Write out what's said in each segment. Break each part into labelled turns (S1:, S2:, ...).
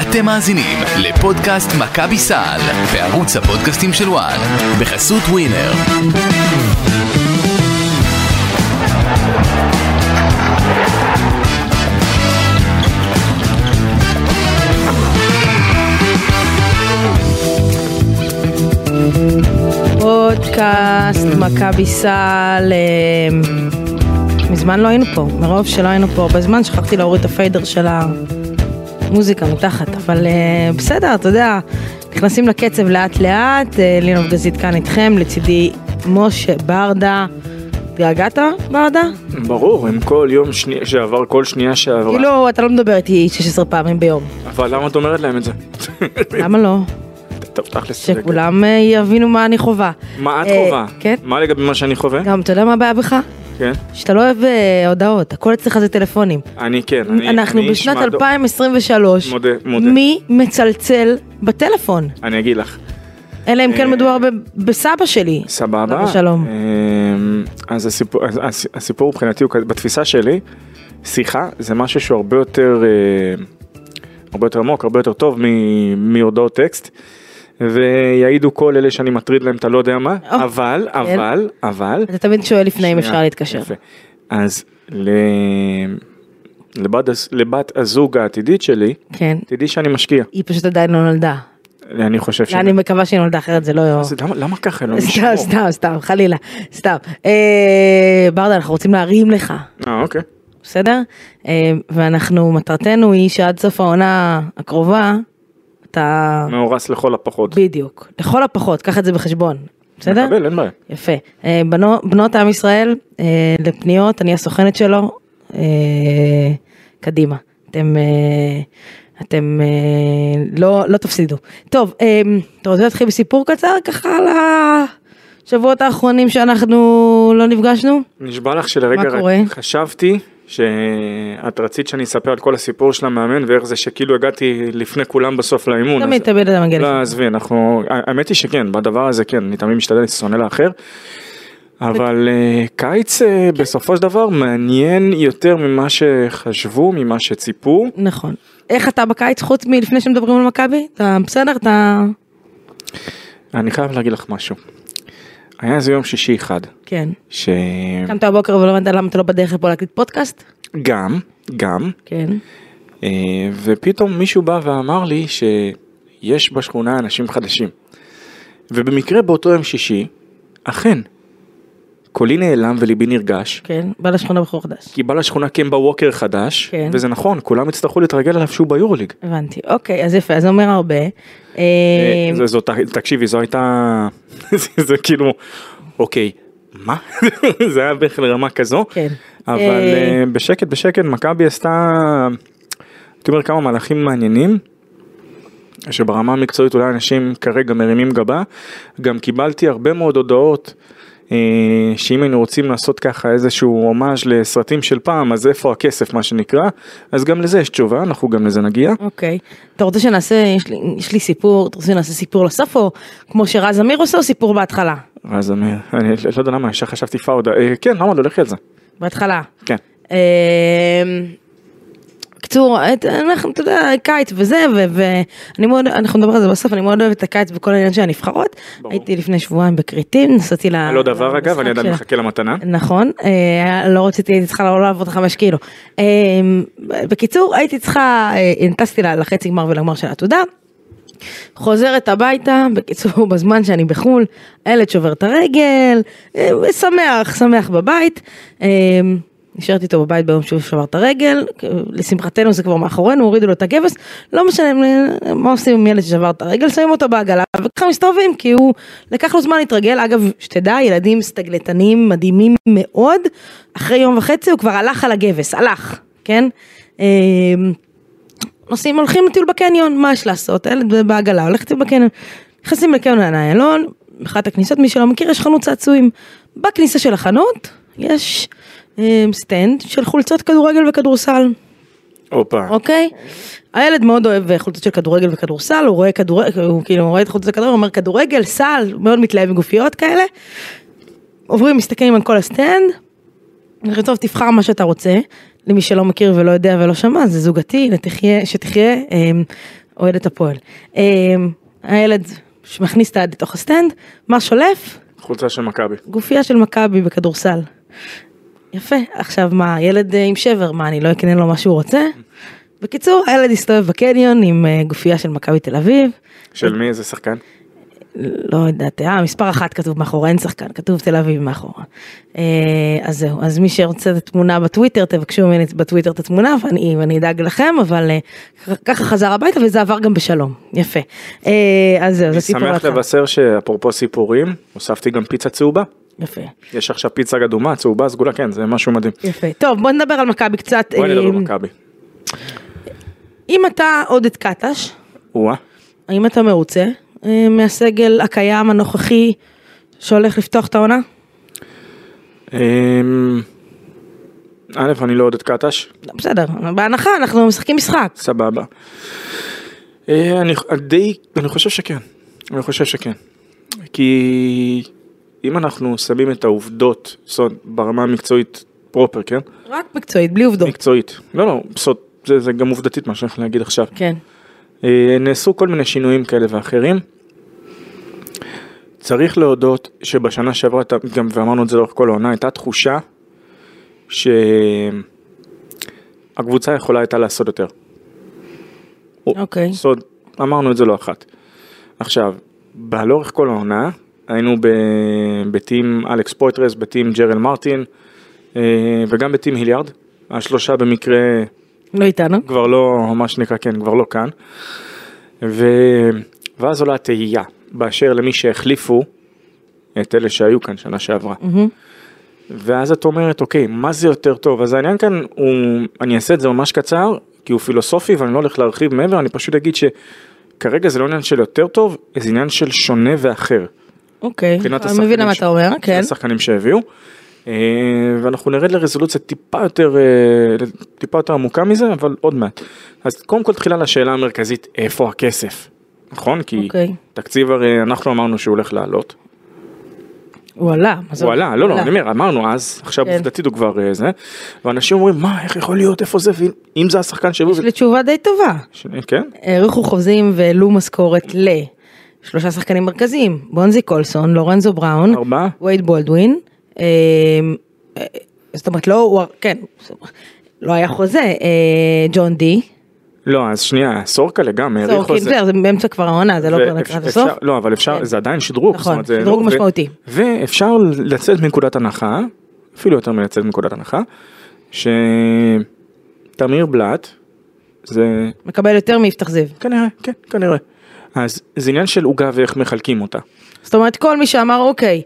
S1: אתם מאזינים לפודקאסט מכבי סל בערוץ הפודקאסטים של וואן בחסות ווינר.
S2: פודקאסט, מכבי סל. אה, מזמן לא היינו פה, מרוב שלא היינו פה הרבה זמן, שכחתי להוריד את הפיידר של המוזיקה מתחת, אבל אה, בסדר, אתה יודע, נכנסים לקצב לאט לאט, אה, לינוב גזית כאן איתכם, לצידי משה ברדה. התגעגעת, ברדה?
S3: ברור, הם כל יום שני... שעבר, כל שנייה שעברה.
S2: כאילו, אתה לא מדבר איתי 16 פעמים ביום.
S3: אבל למה את אומרת להם את זה?
S2: למה לא?
S3: טוב, תכלס. צודקת.
S2: שכולם אה, יבינו מה אני חווה.
S3: מה את
S2: אה,
S3: חווה?
S2: כן.
S3: מה לגבי מה שאני חווה?
S2: גם, אתה יודע מה הבעיה בך?
S3: כן.
S2: שאתה לא אוהב אה, הודעות, הכל אצלך זה טלפונים.
S3: אני כן. אני-
S2: אנחנו
S3: אני
S2: בשנת
S3: אשמע דו-
S2: 2023,
S3: מודה, מודה.
S2: מי מצלצל בטלפון?
S3: אני אגיד לך.
S2: אלא אם כן
S3: אה,
S2: מדובר ב- בסבא שלי.
S3: סבבה.
S2: עליו השלום.
S3: אמ, אז הסיפור, אז- אז הסיפור מבחינתי הוא כזה, בתפיסה שלי, שיחה זה משהו שהוא הרבה יותר, אה, הרבה יותר עמוק, הרבה יותר טוב מ- מהודעות טקסט. ויעידו כל אלה שאני מטריד להם, אתה לא יודע מה,
S2: או,
S3: אבל,
S2: כן.
S3: אבל, אבל,
S2: אתה תמיד שואל לפני אם
S3: שנייה,
S2: אפשר להתקשר.
S3: יפה. אז ל... לבת, הז- לבת הזוג העתידית שלי,
S2: כן.
S3: תדעי שאני משקיע.
S2: היא פשוט עדיין לא נולדה.
S3: אני חושב ש...
S2: אני מקווה שהיא נולדה אחרת זה לא...
S3: אז למה, למה ככה לא
S2: סתם,
S3: נשמור?
S2: סתם, סתם, חלילה. סתם. אה, ברדה, אנחנו רוצים להרים לך,
S3: אה, אוקיי.
S2: בסדר? אה, ואנחנו, מטרתנו היא שעד סוף העונה הקרובה, אתה...
S3: מאורס לכל הפחות.
S2: בדיוק. לכל הפחות, קח את זה בחשבון. בסדר?
S3: מקבל, אין בעיה.
S2: יפה. אה, בנו, בנות עם ישראל, אה, לפניות, אני הסוכנת שלו, אה, קדימה. אתם, אה, אתם אה, לא, לא תפסידו. טוב, אה, אתה רוצה להתחיל בסיפור קצר ככה על השבועות האחרונים שאנחנו לא נפגשנו?
S3: נשבע לך שלרגע
S2: מה
S3: רק
S2: קורה?
S3: חשבתי שאת רצית שאני אספר על כל הסיפור של המאמן ואיך זה שכאילו הגעתי לפני כולם בסוף לאימון.
S2: תמיד
S3: אז-
S2: תמיד אתה מגיע
S3: לא,
S2: לפני.
S3: עזבי, אנחנו, האמת היא שכן, בדבר הזה כן, אני תמיד משתדל, אני שונא לאחר. אבל אה, קיץ אה, בסופו של דבר מעניין יותר ממה שחשבו, ממה שציפו.
S2: נכון. איך אתה בקיץ חוץ מלפני שמדברים על מכבי? אתה בסדר? אתה...
S3: אני חייב להגיד לך משהו. היה איזה יום שישי אחד,
S2: כן.
S3: שגם,
S2: קמת הבוקר ולא הבנת למה אתה לא בדרך לפה להקליט פודקאסט?
S3: גם,
S2: כן.
S3: אה, ופתאום מישהו בא ואמר לי שיש בשכונה אנשים חדשים. ובמקרה באותו יום שישי, אכן, קולי נעלם וליבי נרגש.
S2: כן. בא לשכונה בחור חדש.
S3: כי בא לשכונה קמבה ווקר חדש,
S2: כן.
S3: וזה נכון, כולם יצטרכו להתרגל אליו שהוא ביורוליג.
S2: הבנתי, אוקיי, אז יפה, אז זה אומר הרבה. אה,
S3: אה, זה- זאת, תקשיבי, זו הייתה, זה- זה כאילו, אוקיי, מה? זה היה בערך לרמה כזו,
S2: כן.
S3: אבל
S2: אה,
S3: אה, בשקט בשקט מכבי עשתה, הייתי אומר כמה מהלכים מעניינים. שברמה המקצועית אולי אנשים כרגע מרימים גבה, גם קיבלתי הרבה מאוד הודעות אה, שאם היינו רוצים לעשות ככה איזשהו הומאז' לסרטים של פעם, אז איפה הכסף מה שנקרא, אז גם לזה יש תשובה, אנחנו גם לזה נגיע.
S2: אוקיי. אתה רוצה שנעשה, יש לי, יש לי סיפור, אתה רוצה שנעשה סיפור לסוף או כמו שרז אמיר עושה או סיפור בהתחלה?
S3: אז אני, אני לא יודע למה, ישר חשבתי פאודה, אה, כן, למה לא, לכי על זה,
S2: בהתחלה.
S3: כן.
S2: אה, קצור, את- אנחנו, אתה יודע, קיץ וזה, ו- ואני מאוד, אנחנו נדבר על זה בסוף, אני מאוד אוהבת את הקיץ בכל העניין של הנבחרות.
S3: ברור.
S2: הייתי לפני שבועיים בכרתים, נסעתי ל...
S3: היה לו לא דבר אגב,
S2: למשחק
S3: אני עדיין
S2: של-
S3: מחכה למתנה.
S2: נכון, אה, לא רציתי, הייתי צריכה לא לעבוד חמש קילו. אה, בקיצור, הייתי צריכה, אה, טסתי לה- לחצי גמר ולגמר של העתודה. חוזרת הביתה, בקיצור, בזמן שאני בחו"ל, הילד שובר את הרגל, אה, שמח, שמח בבית. אה, נשארתי איתו בבית ביום שהוא שבר את הרגל, לשמחתנו זה כבר מאחורינו, הורידו לו את הגבס, לא משנה אה, מה עושים עם ילד ששבר את הרגל, שמים אותו בעגלה וככה מסתובבים, כי הוא, לקח לו זמן להתרגל, אגב, שתדע, ילדים סטגלטנים מדהימים מאוד, אחרי יום וחצי הוא כבר הלך על הגבס, הלך, כן? אה, נוסעים, הולכים לטיול בקניון, מה יש לעשות? הילד בעגלה הולך לטיול בקניון. נכנסים לקניון איילון, אחת הכניסות, מי שלא מכיר, יש חנות צעצועים. בכניסה של החנות יש אה, סטנד של חולצות כדורגל וכדורסל.
S3: הופה,
S2: אוקיי? הילד מאוד אוהב אה, חולצות של כדורגל וכדורסל, הוא רואה כדורגל, הוא כאילו רואה את חולצות הכדורגל, הוא אומר כדורגל, סל, הוא מאוד מתלהב מגופיות כאלה. עוברים, מסתכלים על כל הסטנד, אני אומרת, טוב, תבחר מה שאתה רוצה, למי שלא מכיר ולא יודע ולא שמע, זה זוגתי, תחיה, שתחיה, אמ, אוהדת הפועל. אה, הילד שמכניס את היד לתוך הסטנד, מה שולף?
S3: חולצה של מכבי.
S2: גופייה של מכבי בכדורסל. יפה, עכשיו מה, ילד אה, עם שבר, מה, אני לא אקנה לו מה שהוא רוצה? בקיצור, הילד הסתובב בקניון עם אה, גופייה של מכבי תל אביב,
S3: של מי? איזה שחקן?
S2: לא יודעת, אה, מספר אחת כתוב מאחורה, אין שחקן, כתוב תל אביב מאחורה. אה, אז זהו, אז מי שרוצה את התמונה בטוויטר, תבקשו ממני בטוויטר את התמונה ואני, ואני אדאג לכם, אבל אה, כ- ככה חזר הביתה וזה עבר גם בשלום, יפה. אה, אז זהו, זה
S3: אני
S2: סיפור
S3: שמח
S2: אחר.
S3: לבשר שאפרופו סיפורים, הוספתי גם פיצה צהובה.
S2: יפה,
S3: יש עכשיו פיצה אדומה, צהובה, סגולה, כן, זה משהו מדהים.
S2: יפה. טוב, בוא נדבר על מכבי קצת.
S3: בואי נדבר
S2: אה,
S3: על מכבי.
S2: אם אתה עודד קטש,
S3: או-אה.
S2: האם אתה מרוצה אה, מהסגל הקיים הנוכחי שהולך לפתוח את העונה?
S3: אמ, א', אני לא עודד קטש,
S2: בסדר, בהנחה אנחנו משחקים משחק.
S3: סבבה. אה, אני די, אני חושב שכן. אני חושב שכן. כי אם אנחנו שמים את העובדות, זאת אומרת, ברמה המקצועית פרופר, כן?
S2: רק מקצועית, בלי עובדות.
S3: מקצועית. לא, לא, זאת, זה, זה גם עובדתית מה שאני הולך להגיד עכשיו.
S2: כן.
S3: אה, נעשו כל מיני שינויים כאלה ואחרים. צריך להודות שבשנה שעברה, אתה- גם ואמרנו את זה לאורך כל העונה, הייתה תחושה שהקבוצה יכולה הייתה לעשות יותר.
S2: אוקיי.
S3: זאת אומרת, אמרנו את זה לא אחת. עכשיו, ב- לאורך כל העונה, היינו ב... בטים אלכס פויטרס, בטים ג'רל מרטין, אה, וגם בטים היליארד. השלושה במקרה
S2: לא איתנו.
S3: כבר לא, מה שנקרא, כן, כבר לא כאן. ו... ואז עולה התהייה באשר למי שהחליפו את אלה שהיו כאן שנה שעברה.
S2: מהמם.
S3: ואז את אומרת, אוקיי, מה זה יותר טוב? אז העניין כאן הוא, אני אעשה את זה ממש קצר, כי הוא פילוסופי ואני לא הולך להרחיב מעבר, אני פשוט אגיד שכרגע זה לא עניין של יותר טוב, זה עניין של שונה ואחר.
S2: אוקיי,
S3: מבחינת
S2: אני מבינה מה
S3: ש-
S2: אתה אומר,
S3: של
S2: כן.
S3: השחקנים שהביאו. אה, ואנחנו נרד לרזולוציה טיפה יותר, אה, טיפה יותר עמוקה מזה, אבל עוד מעט. אז קודם כל תחילה לשאלה המרכזית, איפה הכסף? נכון? כי
S2: אוקיי.
S3: תקציב הרי אנחנו אמרנו שהוא הולך לעלות.
S2: הוא עלה, מה זה?
S3: הוא עלה, לא, לא, אני אומר, אמרנו אז, עכשיו
S2: כן.
S3: עובדתית הוא כבר אה, זה, ואנשים אומרים, מה, איך יכול להיות, איפה זה, ואם- אם זה השחקן שהביאו,
S2: יש לי תשובה די טובה.
S3: זה- כן,
S2: האריכו חוזים והעלו משכורת לשלושה שחקנים מרכזיים, בונזי קולסון, לורנזו בראון,
S3: ארבעה,
S2: וייד בולדווין, אמ, אה, זאת אומרת לא, הוא- כן, זאת אומרת, לא היה חוזה, אה, ג'ון די,
S3: לא, אז שנייה, סורקלה גם, העריכו
S2: סורקין,
S3: זה.
S2: בסדר, זה באמצע כבר העונה, זה לא כבר
S3: ואפ-
S2: לקראת
S3: אפשר-
S2: הסוף,
S3: לא, אבל אפשר,
S2: כן.
S3: זה עדיין שדרוג.
S2: נכון,
S3: זאת אומרת, זה
S2: שדרוג
S3: לא- ו-
S2: משמעותי.
S3: ואפשר לצאת מנקודת הנחה, אפילו יותר מלצאת מנקודת הנחה, שתמיר בלאט, זה
S2: מקבל יותר מיפתח זיו.
S3: כנראה, כן, כנראה. אז זה עניין של עוגה ואיך מחלקים אותה.
S2: זאת אומרת כל מי שאמר אוקיי,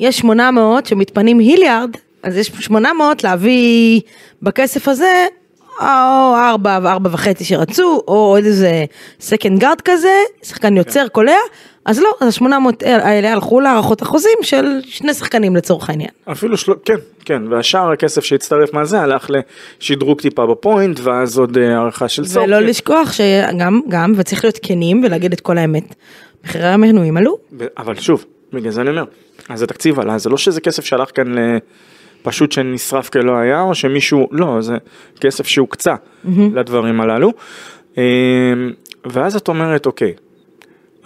S2: יש 800 שמתפנים היליארד, אז יש 800 להביא בכסף הזה, או ארבע וארבע וחצי שרצו, או עוד איזה סקנד גארד כזה, שחקן יוצר קולע, אז לא, אז ה-800 האלה הלכו להערכות החוזים של שני שחקנים לצורך העניין.
S3: אפילו שלא, כן, כן, והשאר הכסף שהצטרף מהזה הלך לשדרוג טיפה בפוינט, ואז עוד אה, הערכה של סורקל.
S2: ולא לשכוח שגם, גם, וצריך להיות כנים ולהגיד את כל האמת, מחירי המנויים עלו.
S3: ו- אבל שוב, בגלל זה אני אומר, אז התקציב עלה, זה לא שזה כסף שהלך כאן ל... פשוט שנשרף כלא היה, או שמישהו, לא, זה כסף שהוקצה לדברים הללו. אמ, ואז את אומרת, אוקיי,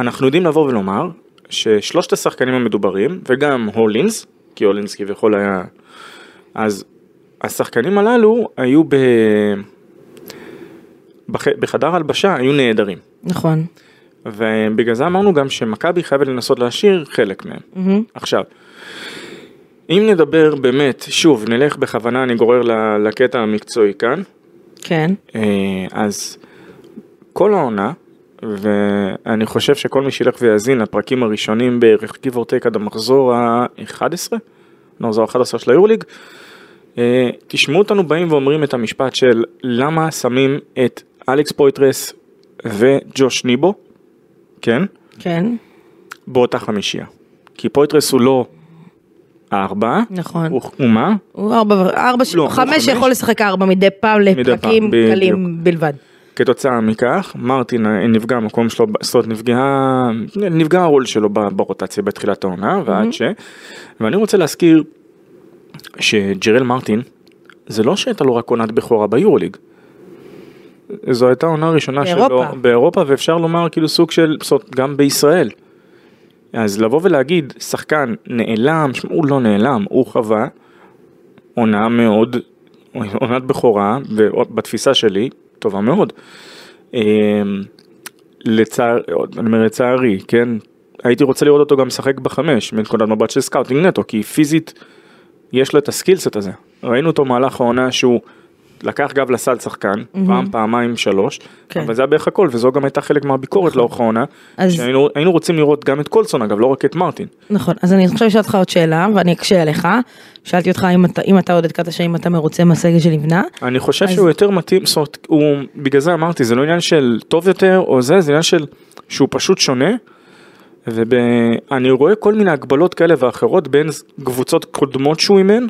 S3: אנחנו יודעים לבוא ולומר ששלושת השחקנים המדוברים, וגם הולינס, כי הולינס כביכול היה... אז השחקנים הללו היו ב... בח... בחדר הלבשה, היו נהדרים.
S2: נכון.
S3: ובגלל זה אמרנו גם שמכבי חייבת לנסות להשאיר חלק מהם. עכשיו, אם נדבר באמת, שוב, נלך בכוונה, אני גורר ל- לקטע המקצועי כאן,
S2: כן.
S3: אה, אז כל העונה, ואני חושב שכל מי שילך ויאזין לפרקים הראשונים בערך גיבורטק עד המחזור ה-11, לא, זו ה-11 של היורליג, אה, תשמעו אותנו באים ואומרים את המשפט של למה שמים את אלכס פויטרס וג'וש ניבו, כן?
S2: כן,
S3: באותה חמישייה. כי פויטרס הוא לא הארבע,
S2: נכון.
S3: הוא, הוא מה?
S2: הוא ארבע, ו- ארבע, ש-
S3: לא, הוא
S2: חמש
S3: חמש.
S2: שיכול לשחק ארבע מדי פעם לפרקים
S3: פעם,
S2: קלים בלבד.
S3: כתוצאה מכך, מרטין אה, נפגע המקום שלו, ב- זאת אומרת נפגע, נפגע הרול שלו ב- ברוטציה בתחילת העונה, ועד ש... ואני רוצה להזכיר שג'רל מרטין, זה לא שהייתה לו רק עונת בכורה ביורוליג. זו הייתה העונה הראשונה
S2: באירופה.
S3: שלו באירופה, ואפשר לומר כאילו סוג של, זאת, גם בישראל. אז לבוא ולהגיד, שחקן נעלם, שמע, הוא לא נעלם, הוא חווה עונה מאוד, עונת בכורה, ובתפיסה שלי, טובה מאוד. אמ, לצער, אני אומר לצערי, כן? הייתי רוצה לראות אותו גם משחק בחמש, מנקודת מבט של סקאוטינג נטו, כי פיזית יש לו את הסקילסט הזה. ראינו אותו במהלך העונה שהוא לקח גב לסל שחקן, פעם, פעמיים, שלוש,
S2: כן. נכון.
S3: אבל זה היה בערך הכל, וזו גם הייתה חלק מהביקורת לאורך העונה,
S2: אז-
S3: שהיינו היינו רוצים לראות גם את קולסון אגב, לא רק את מרטין.
S2: נכון, אז אני עכשיו אשאל אותך עוד שאלה ואני אקשה עליך. שאלתי אותך אם אתה, אם אתה עוד התקעת שאם אתה מרוצה מהסגל שנבנה.
S3: אני חושב
S2: אז-
S3: שהוא יותר מתאים, זאת אומרת, הוא, בגלל זה אמרתי, זה לא עניין של טוב יותר או זה, זה עניין של שהוא פשוט שונה. ואני רואה כל מיני הגבלות כאלה ואחרות בין קבוצות קודמות שהוא אימן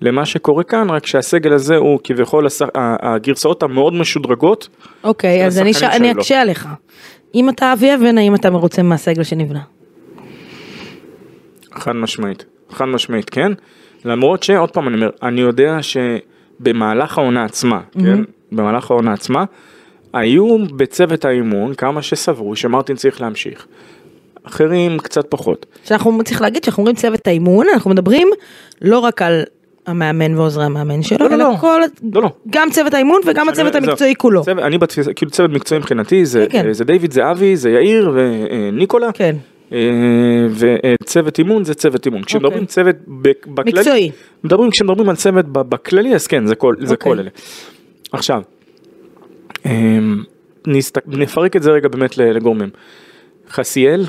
S3: למה שקורה כאן, רק שהסגל הזה הוא כביכול הס- ה- הגרסאות המאוד משודרגות.
S2: אוקיי,
S3: של
S2: אז אני, ש...
S3: השחקנים
S2: אני
S3: שלו.
S2: אקשה עליך. אם אתה אבי אבן, האם אתה מרוצה מהסגל שנבנה?
S3: חד משמעית, חד משמעית, כן. למרות שעוד פעם אני אומר, אני יודע שבמהלך העונה עצמה, כן, במהלך העונה עצמה, היו בצוות האימון כמה שסברו שמרטין צריך להמשיך. אחרים קצת פחות.
S2: שאנחנו צריך להגיד שאנחנו אומרים צוות האימון, אנחנו מדברים לא רק על המאמן ועוזרי המאמן שלו,
S3: לא, לא,
S2: אלא
S3: לא.
S2: כל,
S3: לא, לא.
S2: גם צוות האימון וגם הצוות
S3: אני- זהו.
S2: המקצועי כולו.
S3: צוות, אני בתפיסה, כאילו צוות מקצועי מבחינתי, זה, אה,
S2: כן, כן.
S3: זה דיוויד, זה אבי, זה יאיר אה, וניקולה.
S2: כן.
S3: וצוות אימון זה אה, צוות אימון. כשמדברים צוות בק- בכללי,
S2: אוקיי. מקצועי.
S3: מדברים, כשמדברים על צוות ב- בכללי אז כן זה כל, זה
S2: אוקיי.
S3: כל אלה. עכשיו, אמ, נסת- נפרק את זה רגע באמת ל- לגורמים. חסיאל,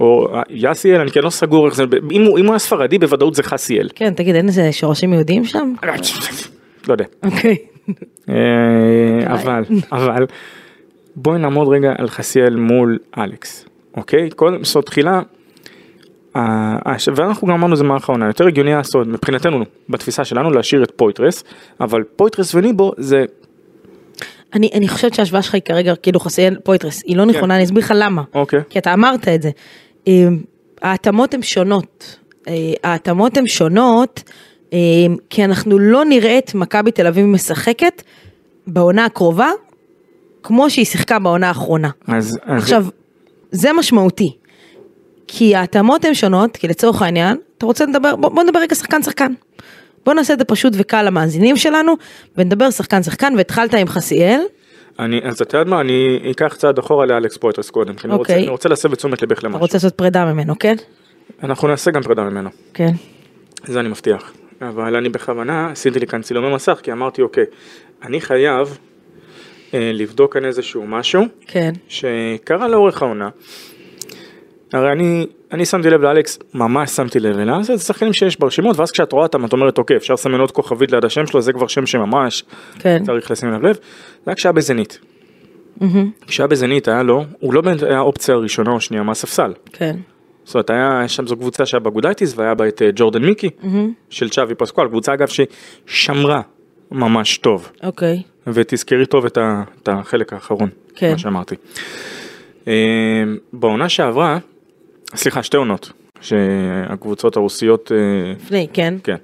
S3: או אה, יאסיאל, אני כן לא סגור איך זה, אם הוא אם הוא היה ספרדי בוודאות זה חסיאל.
S2: כן, תגיד, אין איזה שורשים יהודיים שם?
S3: לא יודע.
S2: אוקיי.
S3: אה,
S2: אולי.
S3: אבל, אבל, בואי נעמוד רגע על חסיאל מול אלכס, אוקיי? קודם, זאת תחילה, ה- הש- ואנחנו גם אמרנו זה מערך העונה, יותר הגיוני לעשות, מבחינתנו, בתפיסה שלנו, להשאיר את פויטרס, אבל פויטרס וניבו זה,
S2: אני, אני חושבת שההשוואה שלך היא כרגע כאילו חסיין פויטרס, היא לא נכונה, אני אסביר לך למה.
S3: אוקיי.
S2: כי אתה אמרת את זה. אה, ההתאמות הן שונות. אה, ההתאמות הן שונות, אה, כי אנחנו לא נראה את מכבי תל אביב משחקת בעונה הקרובה, כמו שהיא שיחקה בעונה האחרונה.
S3: אז, אז
S2: עכשיו, זה משמעותי. כי ההתאמות הן שונות, כי לצורך העניין, אתה רוצה לדבר, בוא, בוא נדבר רגע שחקן שחקן. בוא נעשה את זה פשוט וקל למאזינים שלנו, ונדבר שחקן שחקן, והתחלת עם חסיאל,
S3: אני, אז אתה יודע מה, אני אקח צעד אחורה לאלכס פויטרס קודם, כי אני רוצה-
S2: אוקיי.
S3: אני רוצה להסב את תשומת לבך
S2: אתה
S3: למשהו.
S2: רוצה לעשות פרידה ממנו, כן?
S3: אנחנו נעשה גם פרידה ממנו.
S2: כן.
S3: זה אני מבטיח. אבל אני בכוונה עשיתי לי כאן צילומי מסך, כי אמרתי, אוקיי, אני חייב אה, לבדוק כאן איזשהו משהו
S2: כן.
S3: שקרה לאורך העונה. הרי אני, אני שמתי לב לאלכס, ממש שמתי לב אליו, זה שחקנים שיש ברשימות, ואז כשאת רואה אותם, את אומרת, אוקיי, אפשר לסמן עוד כוכבית ליד השם שלו, זה כבר שם שממש
S2: כן.
S3: צריך לשים אליו לב. זה היה כשהיה בזנית. כשהיה בזנית היה לו, הוא לא באמת היה האופציה הראשונה או שנייה מהספסל.
S2: כן.
S3: זאת אומרת, היה שם זו קבוצה שהיה בה גודייטיס והיה בה את אה, ג'ורדן מיקי של צ'אבי פסקואל, קבוצה אגב ששמרה ממש טוב,
S2: אוקיי.
S3: ותזכרי טוב את, ה, את החלק האחרון,
S2: כן.
S3: מה שאמרתי. אה, בעונה שעברה, סליחה, שתי עונות, שהקבוצות הרוסיות, אה,
S2: לפני, כן.
S3: כן.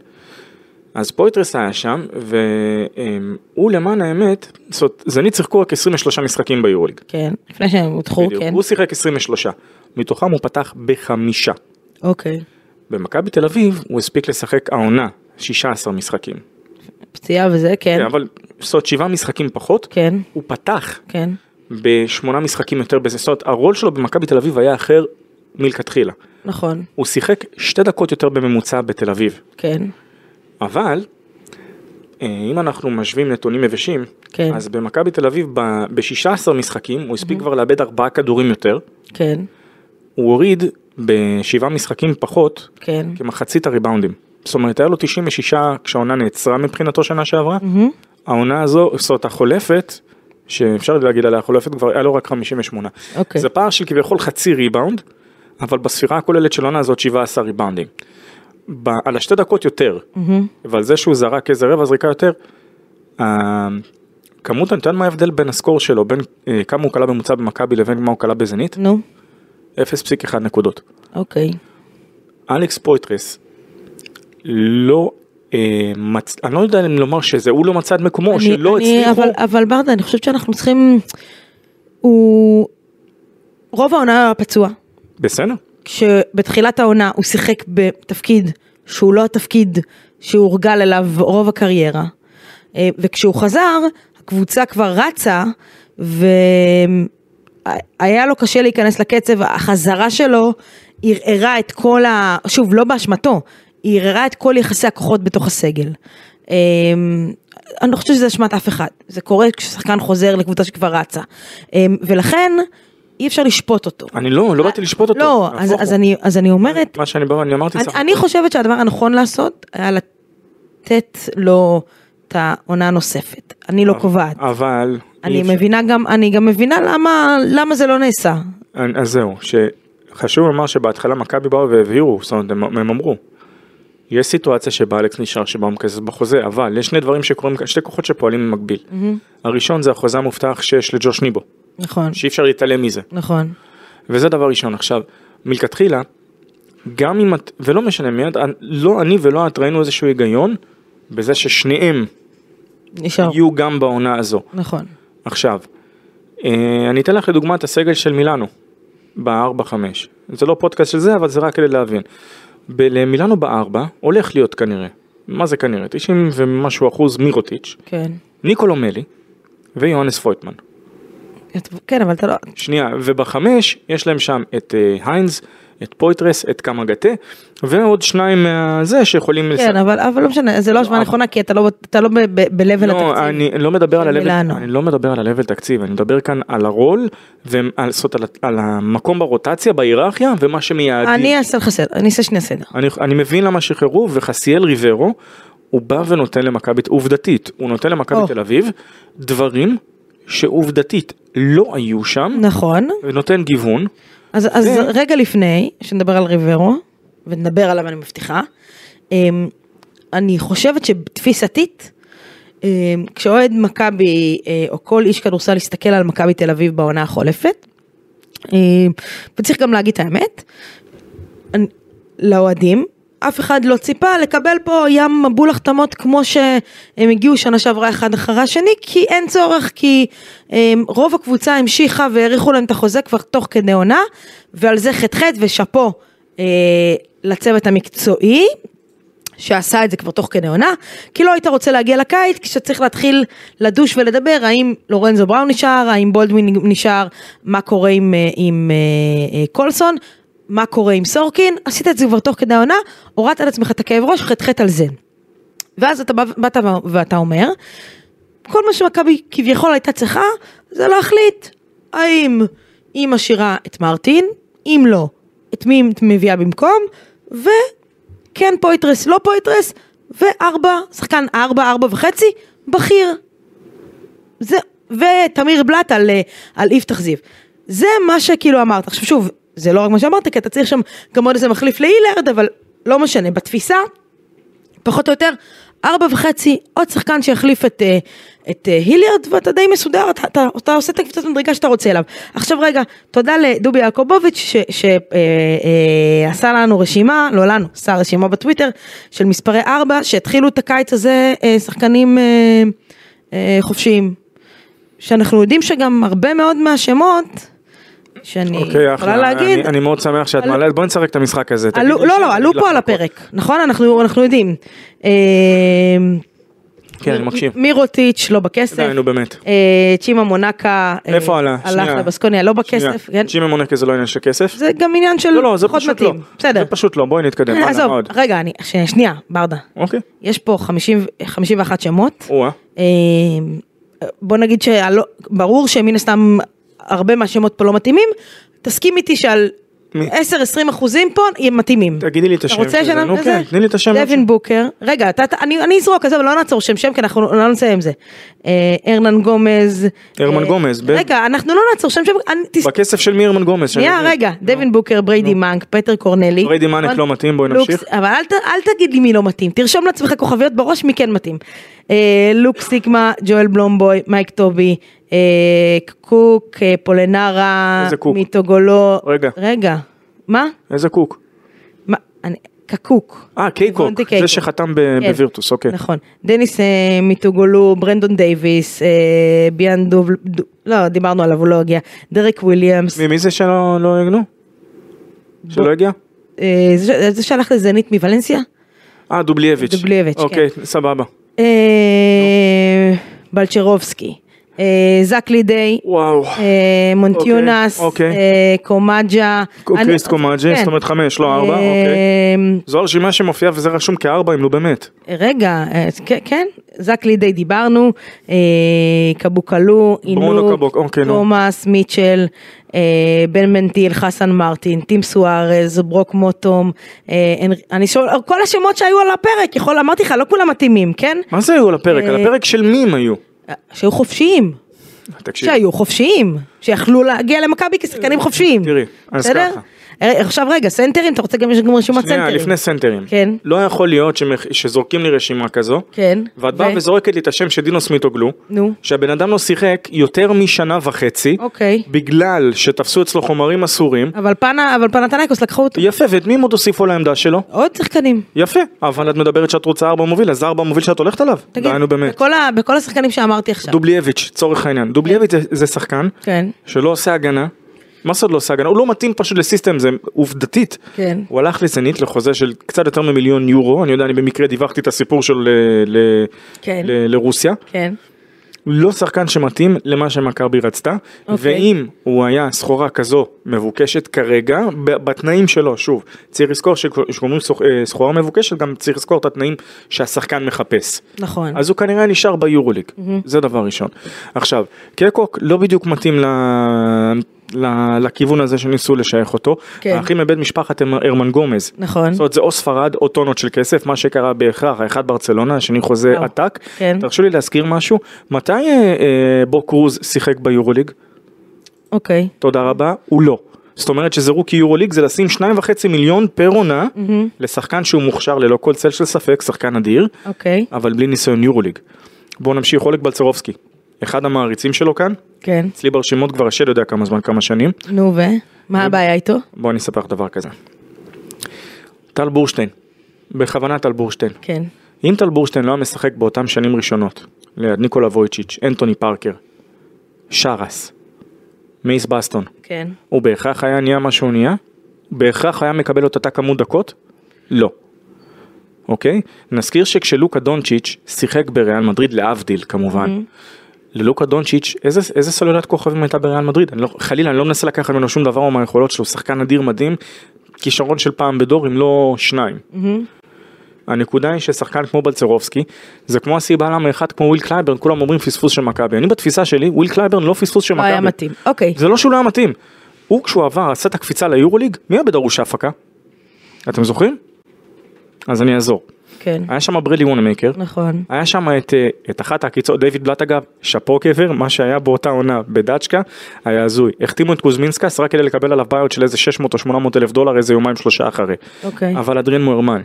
S3: אז פויטרס היה שם, והוא למען האמת, זאת אומרת, זנית שיחקו רק 23 משחקים ביורוליג.
S2: כן. לפני שהם הודחו,
S3: בדיוק.
S2: כן.
S3: הוא שיחק 23, מתוכם הוא פתח בחמישה.
S2: אוקיי.
S3: במכבי תל אביב הוא הספיק לשחק העונה 16 משחקים.
S2: פציעה וזה, כן.
S3: כן. אבל זאת אומרת, שבעה משחקים פחות,
S2: כן.
S3: הוא פתח
S2: כן.
S3: בשמונה משחקים יותר בזה, זאת אומרת הרול שלו במכבי תל אביב היה אחר מלכתחילה.
S2: נכון.
S3: הוא שיחק שתי דקות יותר בממוצע בתל אביב,
S2: כן.
S3: אבל אה, אם אנחנו משווים נתונים יבשים,
S2: כן. Mm-hmm.
S3: אז במכבי תל אביב ב-16 משחקים הוא הספיק כבר לאבד ארבעה כדורים יותר,
S2: כן.
S3: הוא הוריד בשבעה משחקים פחות
S2: כן.
S3: כמחצית הריבאונדים. זאת אומרת, היה לו 96 כשהעונה נעצרה מבחינתו שנה שעברה. העונה הזו, זאת אומרת, החולפת, שאפשר להגיד עליה החולפת, כבר היה לו רק 58.
S2: אוקיי.
S3: זה פער של כביכול חצי ריבאונד, אבל בספירה הכוללת של העונה הזאת 17 ריבאונדים. ב- על השתי דקות יותר, ועל זה שהוא זרק איזה רבע זריקה יותר, ה- כמות, אני יודע מה ההבדל בין הסקור שלו, בין אה, כמה הוא כלה בממוצע במכבי לבין מה הוא כלה בזנית?
S2: נו.
S3: 0.1 נקודות.
S2: אוקיי.
S3: אלכס פויטרס לא אה, מצ... אני לא יודע אם לומר שזה הוא לא מצא את מקומו, או
S2: אני-
S3: שלא
S2: אני-
S3: הצליחו.
S2: אבל, אבל ברדה, אני חושבת שאנחנו צריכים... הוא... רוב העונה היה פצוע,
S3: בסדר.
S2: כשבתחילת העונה הוא שיחק בתפקיד שהוא לא התפקיד שהוא הורגל אליו רוב הקריירה. אה, וכשהוא חזר, הקבוצה כבר רצה, והיה לו קשה להיכנס לקצב, החזרה שלו ערערה את כל ה... שוב, לא באשמתו, היא ערערה את כל יחסי הכוחות בתוך הסגל. אה, אני לא חושבת שזה אשמת אף אחד, זה קורה כששחקן חוזר לקבוצה שכבר רצה. אה, ולכן, אי אפשר לשפוט אותו.
S3: אני לא, לא באתי לשפוט אותו.
S2: לא,
S3: נהפוך
S2: אז,
S3: הוא.
S2: אז, אני, אז אני אומרת,
S3: מה שאני בא, אני אמרתי,
S2: אני,
S3: סך-
S2: אני חושבת שהדבר הנכון לעשות היה לתת לו את העונה הנוספת. אני לא קובעת.
S3: אבל... אה, אי
S2: אני
S3: אפשר-
S2: מבינה גם, אני גם מבינה למה, למה זה לא נעשה.
S3: אז זהו, שחשוב לומר שבהתחלה מכבי באו והבהירו, זאת אומרת, הם, הם אמרו. יש סיטואציה שבה אלכס נשאר שבה הוא מקזז בחוזה, אבל יש שני דברים שקורים, כאן, שתי כוחות שפועלים במקביל. הראשון זה החוזה המובטח שיש לג'וש ניבו,
S2: נכון,
S3: שאי אפשר להתעלם מזה.
S2: נכון.
S3: וזה דבר ראשון. עכשיו, מלכתחילה, גם אם את, ולא משנה מי את, לא אני ולא את ראינו איזשהו היגיון בזה ששניהם
S2: נשאר.
S3: יהיו גם בעונה הזו.
S2: נכון.
S3: עכשיו, אה, אני אתן לך לדוגמה את הסגל של מילאנו, ב-4-5. זה לא פודקאסט של זה, אבל זה רק כדי להבין. ב- למילאנו ב-4 הולך להיות כנראה, מה זה כנראה? 90 ומשהו אחוז מירוטיץ',
S2: כן.
S3: ניקולו מלי ויוהנס פויטמן.
S2: כן, אבל אתה לא...
S3: שנייה, ובחמש יש להם שם את אה, היינז, את פויטרס, את קמאגטה, ועוד שניים מהזה שיכולים...
S2: כן, אבל, אבל לא משנה, זה לא השוואה נכונה, כי אתה לא, אתה לא ב- ב- ב-level
S3: לא,
S2: התקציב.
S3: אני לא מדבר על
S2: של
S3: ה-level,
S2: מילאנו.
S3: אני לא מדבר על ה-level תקציב, אני מדבר כאן על הרול ועל זאת על, ה- על המקום ברוטציה, בהיררכיה ומה שמייעדים.
S2: אני
S3: אני...
S2: אעשה לך סדר, אני אעשה שנייה סדר.
S3: אני, אני מבין למה שחררו וחסיאל ריברו, הוא בא ונותן למכבי, עובדתית, הוא נותן למכבי
S2: או.
S3: תל אביב דברים שעובדתית לא היו שם,
S2: נכון.
S3: ונותן גיוון,
S2: אז, אז
S3: כן.
S2: רגע לפני שנדבר על ריברו, ונדבר עליו אני מבטיחה, אמ, אני חושבת שתפיסתית, אמ, כשאוהד מכבי אה, או כל איש כדורסל יסתכל על מכבי תל אביב בעונה החולפת, אמ, וצריך גם להגיד את האמת, אני- לאוהדים, אף אחד לא ציפה לקבל פה ים מבול החתמות כמו שהם הגיעו שנה שעברה אחד אחרי השני, כי אין צורך, כי הם, רוב הקבוצה המשיכה והאריכו להם את החוזה כבר תוך כדי עונה, ועל זה ח"ח ושאפו אה, לצוות המקצועי. שעשה את זה כבר תוך כדי עונה, כי לא היית רוצה להגיע לקיץ כשצריך להתחיל לדוש ולדבר האם לורנזו בראון נשאר, האם בולדווין נשאר, מה קורה עם, אה, עם אה, אה, קולסון, מה קורה עם סורקין, עשית את זה כבר תוך כדי העונה, הורדת על עצמך את הכאב ראש, ח"ח על זה. ואז אתה בא- באת ו- ואתה אומר, כל מה שמכבי כביכול הייתה צריכה, זה להחליט האם היא משאירה את מרטין, אם לא, את מי היא מביאה במקום, וכן פויטרס, לא פויטרס, וארבע, שחקן ארבע, ארבע וחצי, בכיר. זה, ותמיר בלאט על, אה, על יפתח זיו. זה מה שכאילו אמרת. עכשיו שוב, זה לא רק מה שאמרת, כי אתה צריך שם גם עוד איזה מחליף להילרד, אבל לא משנה, בתפיסה, פחות או יותר, ארבע וחצי, עוד שחקן שיחליף את, אה, את אה, היליארד, ואתה די מסודר, אתה, אתה, אתה עושה את הקבוצת מדרגה שאתה רוצה אליו. עכשיו רגע, תודה לדובי יעקובוביץ' שעשה אה, אה, עשה לנו רשימה, לא לנו, עשה רשימה בטוויטר, של מספרי ארבע, שהתחילו את הקיץ הזה אה, שחקנים אה, אה, חופשיים. שאנחנו יודעים שגם הרבה מאוד מהשמות, שאני
S3: אוקיי,
S2: יכולה
S3: אחלה,
S2: להגיד,
S3: אני, אני מאוד שמח שאת
S2: עלו-
S3: מעלה, בואי נשחק את המשחק הזה. תגידי
S2: עלו,
S3: לי
S2: לא,
S3: שם,
S2: לא,
S3: אני
S2: עלו
S3: אגיד לך
S2: פה על
S3: הכל.
S2: הפרק, נכון? אנחנו, אנחנו יודעים. אה,
S3: כן, אני מקשיב.
S2: מ- מירוטיץ' לא בכסף,
S3: די, נו באמת.
S2: אה, צ'ימה מונקה, אה,
S3: איפה עלה?
S2: הלך
S3: שנייה.
S2: לבסקוניה לא בכסף,
S3: שנייה,
S2: כן?
S3: ג'ימי מונקה זה לא עניין של כסף.
S2: זה גם עניין של
S3: לא, לא, זה
S2: פחות
S3: פשוט לא.
S2: מתאים, בסדר.
S3: זה פשוט לא, בואי נתקדם. הלאה,
S2: עזוב,
S3: מה עוד?
S2: רגע, אני, ש- שנייה, ברדה,
S3: אוקיי.
S2: יש פה 50 51 שמות,
S3: או-אה.
S2: אה, בוא נגיד שברור שמן הסתם הרבה מהשמות פה לא מתאימים, תסכים איתי שעל
S3: מי?
S2: 10-20 אחוזים פה הם מתאימים.
S3: תגידי לי את
S2: אתה
S3: השם.
S2: רוצה
S3: של זה,
S2: שנעבור
S3: נו,
S2: לזה?
S3: כן, תני לי את השם.
S2: דווין בוקר. רגע, אתה- אתה- אני אני אזרוק, עזוב, לא נעצור שם שם, כי אנחנו לא נצא עם זה. אה, ארנן גומז.
S3: הרמן
S2: אה,
S3: גומז, ב-
S2: רגע, אנחנו לא נעצור שם שם. אני- תס-
S3: בכסף של מי הרמן גומז? שאני
S2: שנייה,
S3: מבין.
S2: רגע, דווין בוקר, בריידי מנק, פטר קורנלי.
S3: בריידי מנק לא מתאים, בואי
S2: לוקס-
S3: נמשיך.
S2: אבל אל ת- אל תגיד לי מי לא מתאים, תרשום לעצמך כוכביות בראש מי כן מתאים. אה, לוק סיקמה, ג'ואל בלומבוי, מייק טובי, אה, קוק, אה, פולנרה,
S3: איזה קוק?
S2: מיטוגולו.
S3: רגע.
S2: רגע, מה?
S3: איזה קוק.
S2: מה, אני, קקוק.
S3: אה, קייקוק,
S2: וונטי
S3: זה
S2: נכון, קייקוק.
S3: שחתם ב-
S2: כן.
S3: בווירטוס, אוקיי.
S2: נכון. דניס אה, מיטוגולו, ברנדון דייוויס, אה, ביאן דוב... דו- לא, דיברנו עליו, הוא לא הגיע. דרק וויליאמס,
S3: מי- מי זה שלא לא הגנו? שלא הגיע?
S2: אה, זה- זה שהלך לזנית מוולנסיה?
S3: אה, דובליאביץ'.
S2: דובליאביץ', כן.
S3: אוקיי, סבבה.
S2: אה, בלצ'רובסקי, אה, זק לידי,
S3: וואו.
S2: אה, מונטיונס,
S3: אוקיי.
S2: אה, קומג'ה. אני-
S3: קריס קומאג'ה,
S2: כן.
S3: זאת אומרת חמש, לא ארבע,
S2: אה,
S3: אוקיי. זו הרשימה שמופיעה וזה רשום כארבע, אם לא באמת.
S2: רגע, אה, כן- כן, זק לידי דיברנו, אה, קבוקלו,
S3: ברונו
S2: אינוק,
S3: קבוק, אוקיי, נו.
S2: תומאס, מיטשל, אה, בן מנטיל, חסן מרטין, טים סוארז, ברוק מוטום, אה, הנר- אני שואל, כל השמות שהיו על הפרק, יכול, אמרתי לך, לא כולם מתאימים, כן?
S3: מה זה היו על הפרק?
S2: אה,
S3: על הפרק של מי הם היו?
S2: שהיו חופשיים.
S3: תקשיב,
S2: שהיו חופשיים, שיכלו להגיע למכבי כשחקנים חופשיים.
S3: תראי, אז
S2: בסדר?
S3: ככה.
S2: אה, עכשיו רגע, סנטרים, אתה רוצה גם יש גם רשימת סנטרים.
S3: שנייה, לפני סנטרים.
S2: כן.
S3: לא יכול להיות שמח- שזורקים לי רשימה כזו,
S2: כן.
S3: ואת באה
S2: ו-
S3: וזורקת לי את השם של דינו סמיטוגלו,
S2: נו.
S3: שהבן אדם לא שיחק יותר משנה וחצי,
S2: אוקיי.
S3: בגלל שתפסו אצלו חומרים אסורים,
S2: אבל פאנה, אבל פנתנייקוס לקחו אותו.
S3: יפה, ואת מי הם עוד הוסיפו לעמדה שלו?
S2: עוד שחקנים.
S3: יפה, אבל את מדברת שאת רוצה ארבע מוביל, אז ארבע מוביל שאת הולכת עליו.
S2: תגיד,
S3: דהיינו באמת.
S2: בכל ה- בכל השחקנים שאמרתי עכשיו.
S3: דובליאביץ', צורך העניין. דובליאביץ' זה- זה שחקן
S2: כן.
S3: שלא עושה הגנה. מה זאת לא עושה הגנה? הוא לא מתאים פשוט לסיסטם, זה עובדתית.
S2: כן.
S3: הוא הלך לזנית לחוזה של קצת יותר ממיליון יורו, אני יודע, אני במקרה דיווחתי את הסיפור שלו ל- ל-
S2: כן.
S3: ל- לרוסיה.
S2: כן.
S3: לא שחקן שמתאים למה שמכבי רצתה,
S2: אוקיי.
S3: ואם הוא היה סחורה כזו מבוקשת כרגע, ב- בתנאים שלו, שוב, צריך לזכור שכשאומרים סח- אה, סחורה מבוקשת, גם צריך לזכור את התנאים שהשחקן מחפש.
S2: נכון.
S3: אז הוא כנראה נשאר ביורוליג, זה דבר ראשון. עכשיו, קקוק לא בדיוק מתאים ל... ל... לכיוון הזה שניסו לשייך אותו,
S2: כן.
S3: האחים מבית משפחת הרמ- הרמן גומז.
S2: נכון.
S3: זאת אומרת זה או ספרד או טונות של כסף, מה שקרה בהכרח, האחד ברצלונה, השני חוזה
S2: וואו.
S3: עתק.
S2: כן.
S3: תרשו לי להזכיר משהו, מתי אה, אה, בו קרוז שיחק ביורוליג?
S2: אוקיי.
S3: תודה רבה, הוא לא. זאת אומרת שזירוק יורוליג זה לשים שניים וחצי מיליון פר עונה לשחקן שהוא מוכשר ללא כל צל של ספק, שחקן אדיר,
S2: אוקיי.
S3: אבל בלי ניסיון יורוליג. בואו נמשיך, אולג בלצרובסקי, אחד המעריצים שלו כאן,
S2: כן.
S3: אצלי ברשימות כבר השד יודע כמה זמן, כמה שנים,
S2: נו ו? מה הבעיה איתו?
S3: בואו אני אספר לך דבר כזה. טל בורשטיין, בכוונה טל בורשטיין.
S2: כן.
S3: אם טל בורשטיין לא היה משחק באותם שנים ראשונות, ליד ניקולה וויצ'יץ', אנטוני פארקר, שרס, מייס בסטון,
S2: כן.
S3: הוא בהכרח היה נהיה מה שהוא נהיה? בהכרח היה מקבל את אותה כמות דקות? לא. אוקיי? נזכיר שכשלוקה דונצ'יץ' שיחק בריאל מדריד, להבדיל כמובן,
S2: Mm-hmm.
S3: ללוקה דונצ'יץ', איזה, איזה סוללת כוכבים הייתה בריאל מדריד? אני לא, חלילה, אני לא מנסה לקחת ממנו שום דבר או מהיכולות שלו, שחקן אדיר מדהים, כישרון של פעם בדור, אם לא שניים.
S2: Mm-hmm.
S3: הנקודה היא ששחקן כמו בלצרובסקי, זה כמו הסיבה למה אחד כמו וויל קלייברן, כולם אומרים פספוס של מכבי. אני בתפיסה שלי, וויל קלייברן לא פספוס של
S2: לא
S3: מכבי.
S2: היה מתאים. אוקיי.
S3: זה לא שהוא לא היה מתאים. הוא כשהוא עבר עשה את הקפיצה ליורוליג, מי היה בדרוש ההפקה? אתם זוכרים? אז אני אעזור.
S2: כן.
S3: היה שם ברלי וונמקר,
S2: נכון.
S3: היה שם את, אה, את אחת העקיצות, דיוויד בלאט אגב, שאפו קבר, מה שהיה באותה עונה בדאצ'קה, היה הזוי. החתימו את קוזמינסקס רק כדי לקבל עליו בעיות של איזה 600 או 800 אלף דולר איזה יומיים שלושה אחרי.
S2: אוקיי.
S3: אבל אדרין מוהרמן,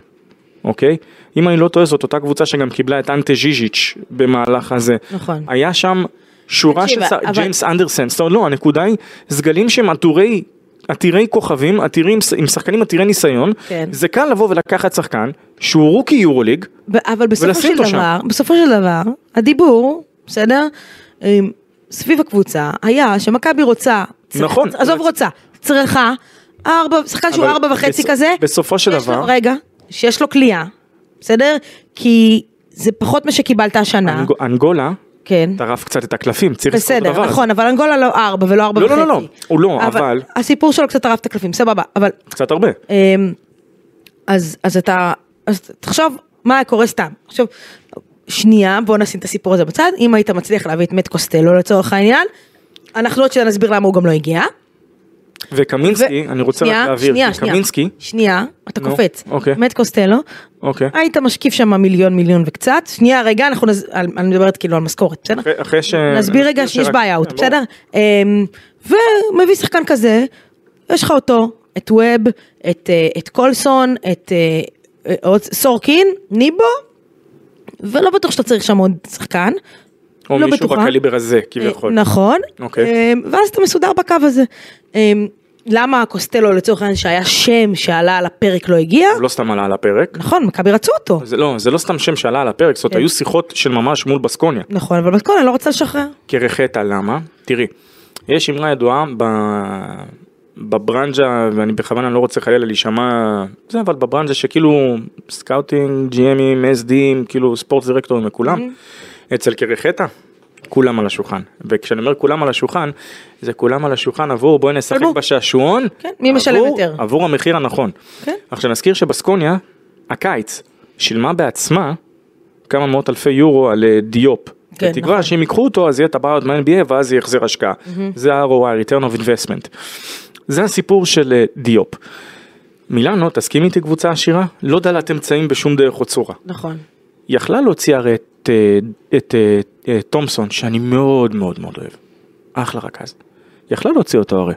S3: אוקיי? אם אני לא טועה זאת אותה קבוצה שגם קיבלה את אנטה ז'יז'יץ' במהלך הזה.
S2: נכון.
S3: היה שם שורה של
S2: תקשיב,
S3: שר-
S2: אבל-
S3: ג'יימס אנדרסן, זאת אומרת לא, הנקודה היא, סגלים שהם עטורי, עתירי כוכבים, עתירים, עם שחקנים עתירי ניסיון,
S2: כן.
S3: זה קל לבוא ולקחת שחקן שהוא רוקי יורוליג,
S2: ב- אבל בסופו
S3: ולשים
S2: של
S3: אותו שם.
S2: דבר, בסופו של דבר, הדיבור, בסדר? אמ, סביב הקבוצה, היה שמכבי רוצה, צר-
S3: נכון.
S2: עזוב רוצה, צריכה, ארבע, שחקן שהוא
S3: אבל
S2: ארבע וחצי
S3: בס-
S2: כזה,
S3: בסופו של
S2: שיש לו-
S3: דבר-
S2: רגע, שיש לו כליאה, בסדר? כי זה פחות מה שקיבלת השנה,
S3: אנג- אנגולה
S2: כן,
S3: טרף קצת את הקלפים, צריך לזכור את הדבר
S2: בסדר,
S3: הזה.
S2: נכון, אבל אנגולה לא ארבע ולא ארבע
S3: לא,
S2: וחצי.
S3: לא, לא, לא, הוא לא, אבל-
S2: הסיפור שלו קצת טרף את הקלפים, סבבה, אבל
S3: קצת הרבה.
S2: אמ, אז, אז אתה, אז תחשוב מה היה קורה סתם. עכשיו, שנייה, בוא נשים את הסיפור הזה בצד, אם היית מצליח להביא את מת קוסטלו לצורך העניין, אנחנו עוד שניה נסביר למה הוא גם לא הגיע.
S3: וקמינסקי, אני רוצה רק
S2: שנייה,
S3: להבהיר,
S2: שנייה,
S3: כי
S2: שנייה,
S3: קמינסקי,
S2: שנייה, אתה
S3: נו,
S2: קופץ.
S3: אוקיי.
S2: מת קוסטלו,
S3: אוקיי,
S2: היית משקיף שם מיליון מיליון וקצת, שנייה רגע, אנחנו, נז... על- אני מדברת כאילו על משכורת, בסדר?
S3: אחרי- אחרי ש...
S2: נסביר רגע
S3: נזכיר
S2: שיש
S3: שרק-
S2: בעיה,
S3: כן,
S2: בסדר? אמ, ומביא שחקן כזה, יש לך אותו, את ווב, את, אה, את קולסון, את אה, אה, עוד סורקין, ניבו, ולא בטוח שאתה צריך שם עוד שחקן.
S3: ברור.
S2: לא
S3: או מישהו
S2: בטוחה.
S3: בקליבר הזה,
S2: אה,
S3: כביכול.
S2: נכון.
S3: אוקיי.
S2: אמ, ואז אתה מסודר בקו הזה. אמ, למה קוסטלו לצורך העניין שהיה שם שעלה על הפרק לא הגיע?
S3: הוא לא סתם עלה על הפרק.
S2: נכון, מכבי רצו אותו.
S3: זה לא, זה לא סתם שם שעלה על הפרק, זאת אומרת,
S2: כן.
S3: היו שיחות של ממש מול בסקוניה.
S2: נכון, אבל בסקונה לא רצה לשחרר.
S3: קרחטה, למה? תראי, יש אמרה ידועה ב... בברנז'ה, ואני בכוונה לא רוצה חלילה להישמע, זה אבל בברנז'ה שכאילו סקאוטינג, ג'י.אמים, אס.דים, כאילו ספורט דירקטורים וכולם,
S2: Mm-hmm.
S3: אצל קרחטה, כולם על השולחן. וכשאני אומר כולם על השולחן, זה כולם על השולחן עבור בואי נשחק
S2: כלבו.
S3: בשעשועון,
S2: כן, מי משלם
S3: עבור-
S2: יותר?
S3: עבור המחיר הנכון.
S2: כן.
S3: עכשיו נזכיר שבסקוניה, הקיץ, שילמה בעצמה כמה מאות אלפי יורו על אה, דיופ.
S2: כן,
S3: כן, בתקווה
S2: נכון.
S3: שאם ייקחו אותו אז יהיה את הבעיות מה-NBA ואז יהיה החזר השקעה. זה ה-ROI, return of investment. זה הסיפור של אה, דיופ. מילאנו, תסכים איתי קבוצה עשירה? לא דלת אמצעים בשום דרך או צורה.
S2: נכון.
S3: יכלה להוציא הרי את, אה, את אה, אה, תומסון, שאני מאוד מאוד מאוד אוהב. אחלה רכז. יכלה להוציא אותו הרי.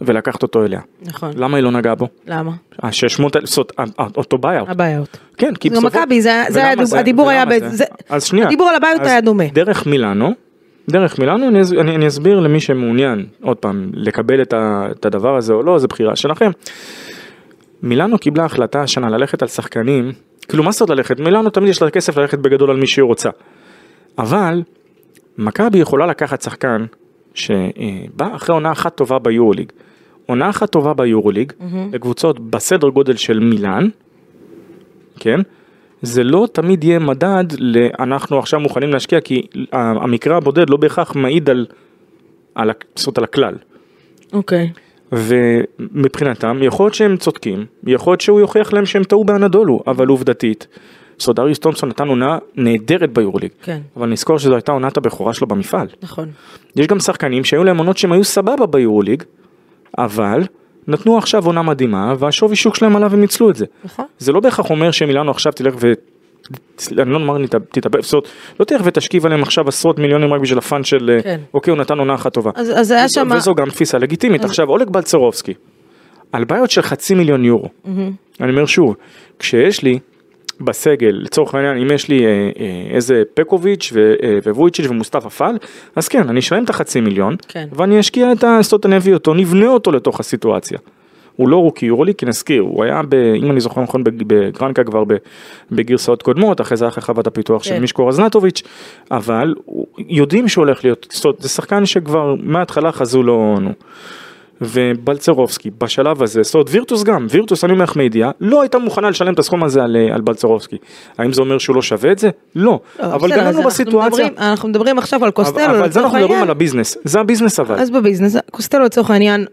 S3: ולקחת אותו אליה.
S2: נכון.
S3: למה היא לא נגעה בו?
S2: למה?
S3: ה-600 אלף, זאת אומרת, ה- ה- אותו ביי-אוט.
S2: הבעיות.
S3: כן, כי
S2: גם מכבי, זה- זה היה
S3: ולמה
S2: דוב- הדיבור היה
S3: ולמה
S2: ב-
S3: זה?
S2: זה-
S3: אז שנייה.
S2: הדיבור על הבעיות
S3: אז
S2: היה דומה.
S3: דרך מילאנו, דרך מילאנו, אני, אז- אני, אני אסביר למי שמעוניין, עוד פעם, לקבל את, ה, את הדבר הזה או לא, זו בחירה שלכם. מילאנו קיבלה החלטה השנה ללכת על שחקנים, כאילו מה זאת ללכת? מילאנו תמיד יש לה כסף ללכת בגדול על מי שהיא רוצה. אבל, מכבי יכולה לקחת שחקן שבא אחרי עונה אחת טובה ביורוליג. עונה אחת טובה ביורוליג, לקבוצות בסדר גודל של מילאן, כן? זה לא תמיד יהיה מדד ל"אנחנו עכשיו מוכנים להשקיע" כי ה- המקרה הבודד לא בהכרח מעיד על, על, ה- זאת אומרת, על הכלל.
S2: אוקיי.
S3: ומבחינתם יכול להיות שהם צודקים, יכול להיות שהוא יוכיח להם שהם טעו באנדולו, אבל עובדתית. זאת דריוס תומפסון נתן עונה נהדרת ביורוליג,
S2: כן.
S3: אבל נזכור שזו הייתה עונת הבכורה שלו במפעל.
S2: נכון.
S3: יש גם שחקנים שהיו להם עונות שהם היו סבבה ביורוליג, אבל נתנו עכשיו עונה מדהימה והשווי שוק שלהם עלה והם ניצלו את זה.
S2: נכון.
S3: זה לא בהכרח אומר שמילאנו עכשיו תלך ו... אני לא אומר תתאבד, זאת אומרת, לא תלך ותשכיב עליהם עכשיו עשרות מיליונים רק בשביל הפאן של אה,
S2: כן.
S3: אוקיי הוא נתן עונה אחת טובה.
S2: אז אז היה
S3: וזו-
S2: שם...
S3: וזו גם תפיסה לגיטימית. עכשיו אולג בלצרובסקי, על בעיות של חצי מיליון יורו.
S2: Mm-hmm.
S3: אני אומר שוב, כשיש לי בסגל, לצורך העניין, אם יש לי אה, אה, איזה פקוביץ' ו- אה, וויצ'יץ' ומוסטפא פאל, אז כן, אני אשלם את החצי מיליון,
S2: כן.
S3: ואני אשקיע את הסטוט, אני אביא אותו, נבנה אותו לתוך הסיטואציה. הוא לא רוקי יורולי, כי נזכיר, הוא היה, ב, אם אני זוכר נכון, בג- בגרנקה כבר ב- בגרסאות קודמות, אחרי זה היה חוות הפיתוח של
S2: כן.
S3: מישקו רזנטוביץ', אבל הוא- יודעים שהוא הולך להיות, זאת אומרת, זה שחקן שכבר מההתחלה חזו לו, נו. ובלצרובסקי בשלב הזה, זאת אומרת וירטוס גם, וירטוס אני אומר לך מידיעה, לא הייתה מוכנה לשלם את הסכום הזה על, אה, על בלצרובסקי. האם זה אומר שהוא לא שווה את זה? לא.
S2: לא,
S3: אבל
S2: בסדר, אז
S3: גם לנו
S2: אנחנו
S3: בסיטואציה,
S2: מדברים- אנחנו מדברים עכשיו על קוסטלו.
S3: אבל, אבל זה
S2: לצורך
S3: אנחנו מדברים
S2: העניין.
S3: על הביזנס, זה הביזנס אבל.
S2: אז בביזנס, קוסטלו לצורך העניין,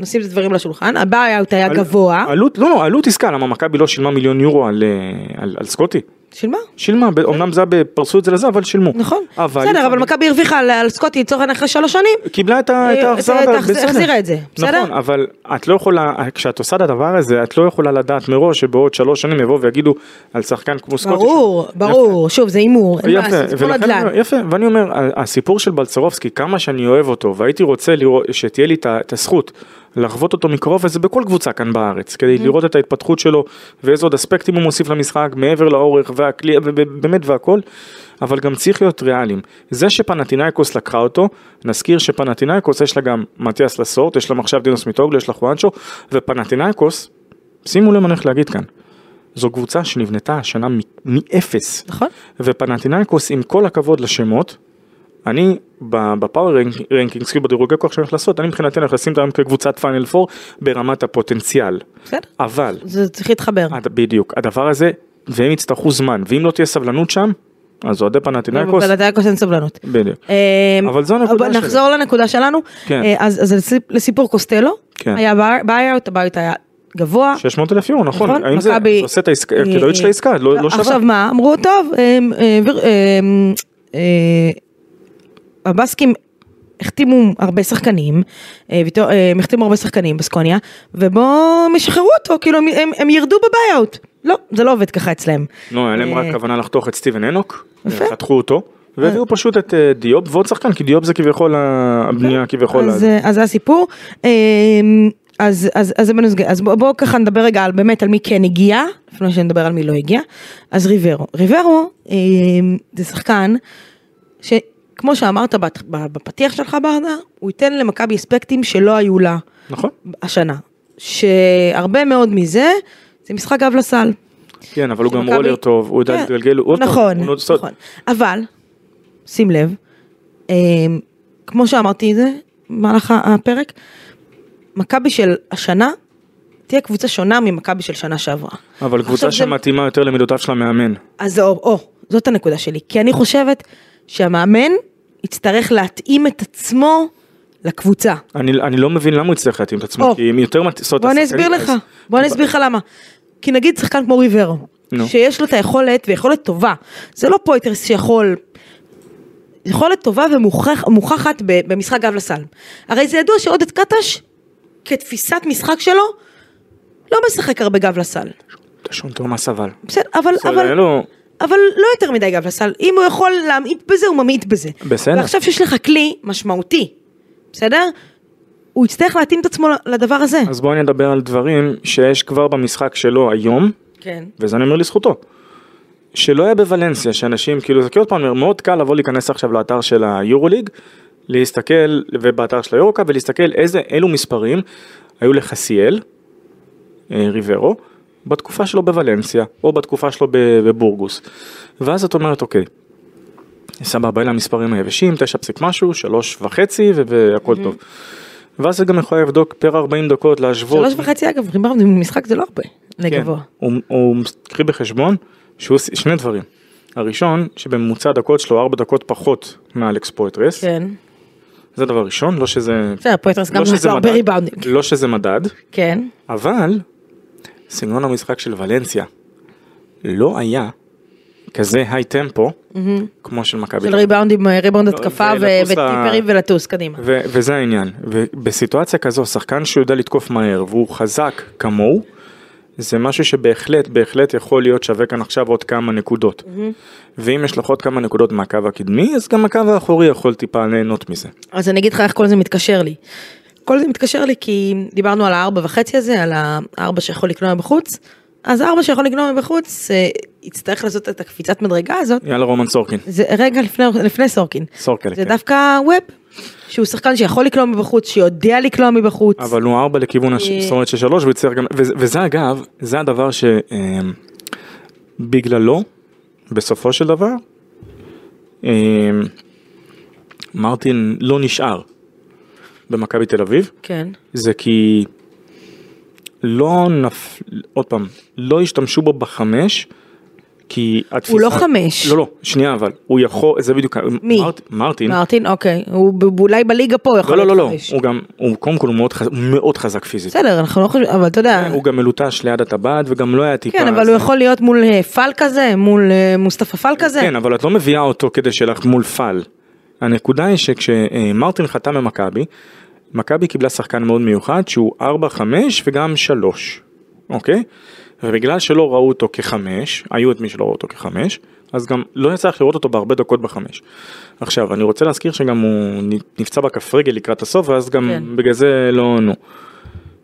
S2: נשים את הדברים לשולחן, הבעיות היה
S3: על-
S2: גבוה,
S3: עלות, לא, לא, עלות עסקה, למה מכבי לא שילמה מיליון יורו על, אה, על, על סקוטי?
S2: שילמה,
S3: שילמה, ב- אמנם זה היה, ב- פרסו את זה לזה, אבל שילמו.
S2: נכון,
S3: אבל-
S2: בסדר, אבל מכבי הרוויחה על- על סקוטי לצורך העניין אחרי שלוש שנים,
S3: קיבלה את ה- את
S2: אה,
S3: ההחזרה,
S2: את
S3: אבל
S2: ההחז-
S3: בסדר.
S2: החזירה את זה, בסדר?
S3: נכון, אבל את לא יכולה, כשאת עושה את הדבר הזה, את לא יכולה לדעת מראש שבעוד שלוש שנים יבואו ויגידו על שחקן כמו סקוטי.
S2: ברור, ברור, שוב זה הימור, אין מה
S3: אה, יפה,
S2: לעשות, זה כמו
S3: ולכן,
S2: נדל"ן,
S3: אני אומר- יפה, ואני אומר, ה- הסיפור של בלצרובסקי, כמה שאני אוהב אותו, והייתי רוצה לראות, שתהיה לי את ה- את הזכות לחוות אותו מקרוב, וזה בכל קבוצה כאן בארץ, כדי לראות את ההתפתחות שלו, ואיזה עוד אספקטים הוא מוסיף למשחק, מעבר לאורך, והכלי, ובאמת והכל, אבל גם צריך להיות ריאליים. זה שפנטינאיקוס לקחה אותו, נזכיר שפנטינאיקוס יש לה גם מתיאס לסורט, יש לה עכשיו דינוס מיטוגלו, יש לה חואנצ'ו, ופנטינאיקוס, שימו לב מה אני הולך להגיד כאן. זו קבוצה שנבנתה השנה מ- מאפס.
S2: נכון,
S3: ופנטינאיקוס עם כל הכבוד לשמות, אני בפאוור רנקינגס, כאילו בדירוגי כוח שאני הולך לעשות, אני מבחינתי הולך לשים אותם כקבוצת פיינל 4 ברמת הפוטנציאל.
S2: בסדר,
S3: אבל,
S2: זה צריך להתחבר,
S3: הד- בדיוק, הדבר הזה, והם יצטרכו זמן, ואם לא תהיה סבלנות שם, אז אוהדי פנטינאיקוס,
S2: בלדייקוס אין סבלנות.
S3: בדיוק.
S2: אמ,
S3: אבל זו הנקודה
S2: אבל
S3: שלי.
S2: נחזור לנקודה שלנו,
S3: כן.
S2: אה, אז אז לסיפ- לסיפור קוסטלו,
S3: כן.
S2: היה בעיות, הבעיות היה גבוה,
S3: 600 אלף יורו, נכון,
S2: נכון,
S3: האם זה
S2: מכבי-
S3: עושה את העסקה,
S2: אה,
S3: הכדאיות של
S2: אה,
S3: העסקה, לא לא שווה.
S2: עכשיו מה, אמרו טוב, אמ, אה, ויר- אמ, אה, הבאסקים החתימו הרבה שחקנים, אה, ויטור- אה, הם החתימו הרבה שחקנים בסקוניה, ובואו הם ישחררו אותו, כאילו הם- הם- הם ירדו בבעיות. לא, זה לא עובד ככה אצלם.
S3: נו, היה להם רק
S2: אה,
S3: כוונה לחתוך את סטיבן הנוק,
S2: יפה. אה.
S3: חתכו אותו, והביאו פשוט את אה, דיופ ועוד שחקן, כי דיופ זה כביכול ה- הבנייה כביכול.
S2: אז,
S3: ה-
S2: אה, אז זה הסיפור. אמ, אז, אז, אז, זה בנוסגי- אז בואו בוא ככה נדבר רגע על באמת על מי כן הגיע, לפני שנדבר על מי לא הגיע. אז ריברו. ריברו אמ, זה שחקן שכמו כמו שאמרת בת- ב- בפתיח שלך ברדה, הוא ייתן למכבי אספקטים שלא היו לה
S3: נכון?
S2: השנה. שהרבה מאוד מזה, זה משחק גב לסל.
S3: כן, אבל הוא גם
S2: שמכבי-
S3: רולר טוב, הוא יודע
S2: כן,
S3: להתגלגל, הוא עוד טוב,
S2: נכון,
S3: הוא לא עוד סוד.
S2: נכון. אבל, שים לב, אמ, כמו שאמרתי את זה במהלך ה- הפרק, מכבי של השנה תהיה קבוצה שונה ממכבי של שנה שעברה.
S3: אבל
S2: עכשיו
S3: קבוצה
S2: זה-
S3: שמתאימה יותר למידותיו של המאמן.
S2: אז או, או, זאת הנקודה שלי, כי אני חושבת שהמאמן יצטרך להתאים את עצמו לקבוצה.
S3: אני אני לא מבין למה הוא יצטרך להתאים את עצמו,
S2: או.
S3: כי אם יותר מתאים...
S2: בוא אני אסביר לך, בוא אני אסביר לך למה. כי נגיד שחקן כמו ריברו,
S3: נו.
S2: שיש לו את היכולת, ויכולת טובה, זה לא פויטרס שיכול... יכולת טובה ומוכחת במשחק גב לסל. הרי זה ידוע שעודד קטש, כתפיסת משחק שלו, לא משחק הרבה גב לסל.
S3: שום תומאס אבל.
S2: בסדר, אבל,
S3: בסדר,
S2: אבל,
S3: אין לו-
S2: אבל לא יותר מדי גב לסל. אם הוא יכול להמעיט בזה, הוא ממעיט בזה.
S3: בסדר.
S2: ועכשיו שיש לך כלי משמעותי, בסדר? הוא יצטרך להתאים את עצמו לדבר הזה.
S3: אז בואו נדבר על דברים שיש כבר במשחק שלו היום,
S2: כן.
S3: וזה אני אומר לזכותו. שלא היה בוולנסיה, שאנשים, כאילו, זה כאילו עוד פעם, אני אומר, מאוד קל לבוא להיכנס עכשיו לאתר של היורוליג, להסתכל, ובאתר של היורוקה, ולהסתכל איזה, אילו מספרים היו לחסיאל, אה, ריברו, בתקופה שלו בוולנסיה, או בתקופה שלו ב- בבורגוס. ואז את אומרת, אוקיי, סבבה, אלה המספרים היבשים, תשע פסיק משהו, שלוש וחצי, ו- והכל טוב. ואז את גם יכולה לבדוק פר 40 דקות, להשוות.
S2: שלוש וחצי אגב, ריבאונד במשחק זה לא הרבה
S3: כן.
S2: לגבוה.
S3: הוא, הוא קחי בחשבון שהוא עושה שני דברים. הראשון, שבממוצע הדקות שלו ארבע דקות פחות מאלכס פויטרס, כן.
S2: כן.
S3: זה דבר ראשון, לא שזה,
S2: בסדר, פויטרס גם
S3: לא
S2: עשה
S3: שזה
S2: הרבה
S3: מדד,
S2: ריבאונדים.
S3: לא שזה מדד,
S2: כן.
S3: אבל סגנון המשחק של ולנסיה לא היה כזה היי טמפו כמו של מכבי.
S2: של
S3: תל אביב.
S2: ריבאונדים, אה, ריבאונד
S3: לא,
S2: התקפה ו-
S3: ולטוס ל-
S2: וטיפרים ולטוס, קדימה.
S3: ו- וזה העניין, ובסיטואציה כזו, שחקן שיודע לתקוף מהר והוא חזק כמוהו, זה משהו שבהחלט, בהחלט יכול להיות שווה כאן עכשיו עוד כמה נקודות. ואם יש לך עוד כמה נקודות מהקו הקדמי, אז גם הקו האחורי יכול טיפה ליהנות מזה.
S2: אז אני אגיד לך איך כל זה מתקשר לי. כל זה מתקשר לי כי דיברנו על הארבע וחצי הזה, על הארבע שיכול לקנות מבחוץ. אז הארבע שיכול לקנות מבחוץ, אה, יצטרך לעשות את הקפיצת מדרגה הזאת.
S3: יאללה רומן סורקין,
S2: זה רגע לפני, לפני סורקין.
S3: סורקין.
S2: זה
S3: כן.
S2: דווקא ווב, שהוא שחקן שיכול לקלוע מבחוץ, שיודע לקלוע מבחוץ.
S3: אבל הוא ארבע לכיוון הש-
S2: אה.
S3: זאת אומרת של שלוש, והוא יצטרך גם, וזה- וזה אגב, זה הדבר שבגללו, בסופו של דבר, אה, מרטין לא נשאר במכבי תל אביב.
S2: כן.
S3: זה כי לא נפ... עוד פעם, לא השתמשו בו בחמש, כי התפיסה...
S2: הוא לא חמש.
S3: לא, לא, שנייה אבל, הוא יכול, זה בדיוק...
S2: מי?
S3: מרט... מרטין.
S2: מרטין, אוקיי. הוא ב- אולי בליגה פה יכול
S3: לא, לא, לא, לא,
S2: להתחרש.
S3: הוא גם, הוא קודם כל הוא מאוד, חז... הוא מאוד חזק פיזית.
S2: בסדר, אנחנו לא חושבים, אבל אתה יודע,
S3: כן, הוא גם מלוטש ליד הטבעת וגם לא היה טיפה...
S2: כן, אבל הוא יכול להיות מול אה, פל כזה, מול אה, מוסטפא פל כזה.
S3: כן, אבל את לא מביאה אותו כדי שלך מול פאל. הנקודה היא שכשמרטין חתם במכבי, מכבי קיבלה שחקן מאוד מיוחד שהוא 4-5 וגם 3, אוקיי? ובגלל שלא ראו אותו כחמש, היו את מי שלא ראו אותו כחמש, אז גם לא יצא לך לראות אותו בהרבה דקות בחמש. עכשיו, אני רוצה להזכיר שגם הוא נפצע בכף רגל לקראת הסוף, ואז גם
S2: כן.
S3: בגלל זה לא, נו.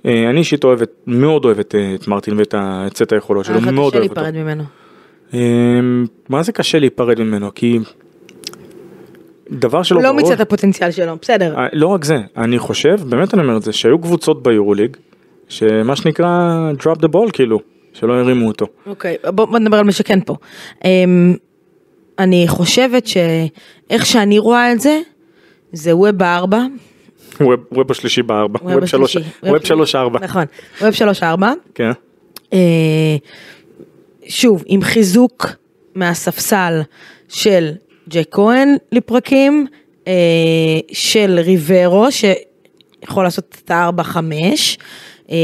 S3: אה, אני אישית אוהב, את- מאוד אוהב את אה, את מרטין ואת ה- את סט היכולות שלו,
S2: היה לך
S3: מאוד אוהב
S2: אה, קשה
S3: אותו.
S2: להיפרד ממנו.
S3: אמ, מה זה קשה להיפרד ממנו? כי דבר שלא
S2: הוא לא
S3: ברור,
S2: מיצה את הפוטנציאל שלו, בסדר.
S3: אה, לא רק זה, אני חושב, באמת אני אומר את זה, שהיו קבוצות ביורוליג, שמה שנקרא drop the ball כאילו, שלא הרימו אותו.
S2: אוקיי, בוא בוא נדבר על מה שכן פה. אמ, אני חושבת שאיך שאני רואה את זה, זה ווב ארבע.
S3: ווב ווב השלישי בארבע, ווב שלוש,
S2: השלישי.
S3: ווב שלוש ארבע,
S2: נכון, ווב שלוש ארבע.
S3: כן,
S2: אה, שוב, עם חיזוק מהספסל של ג'ק כהן לפרקים, אה, של ריברו, שיכול לעשות את הארבע חמש, אה,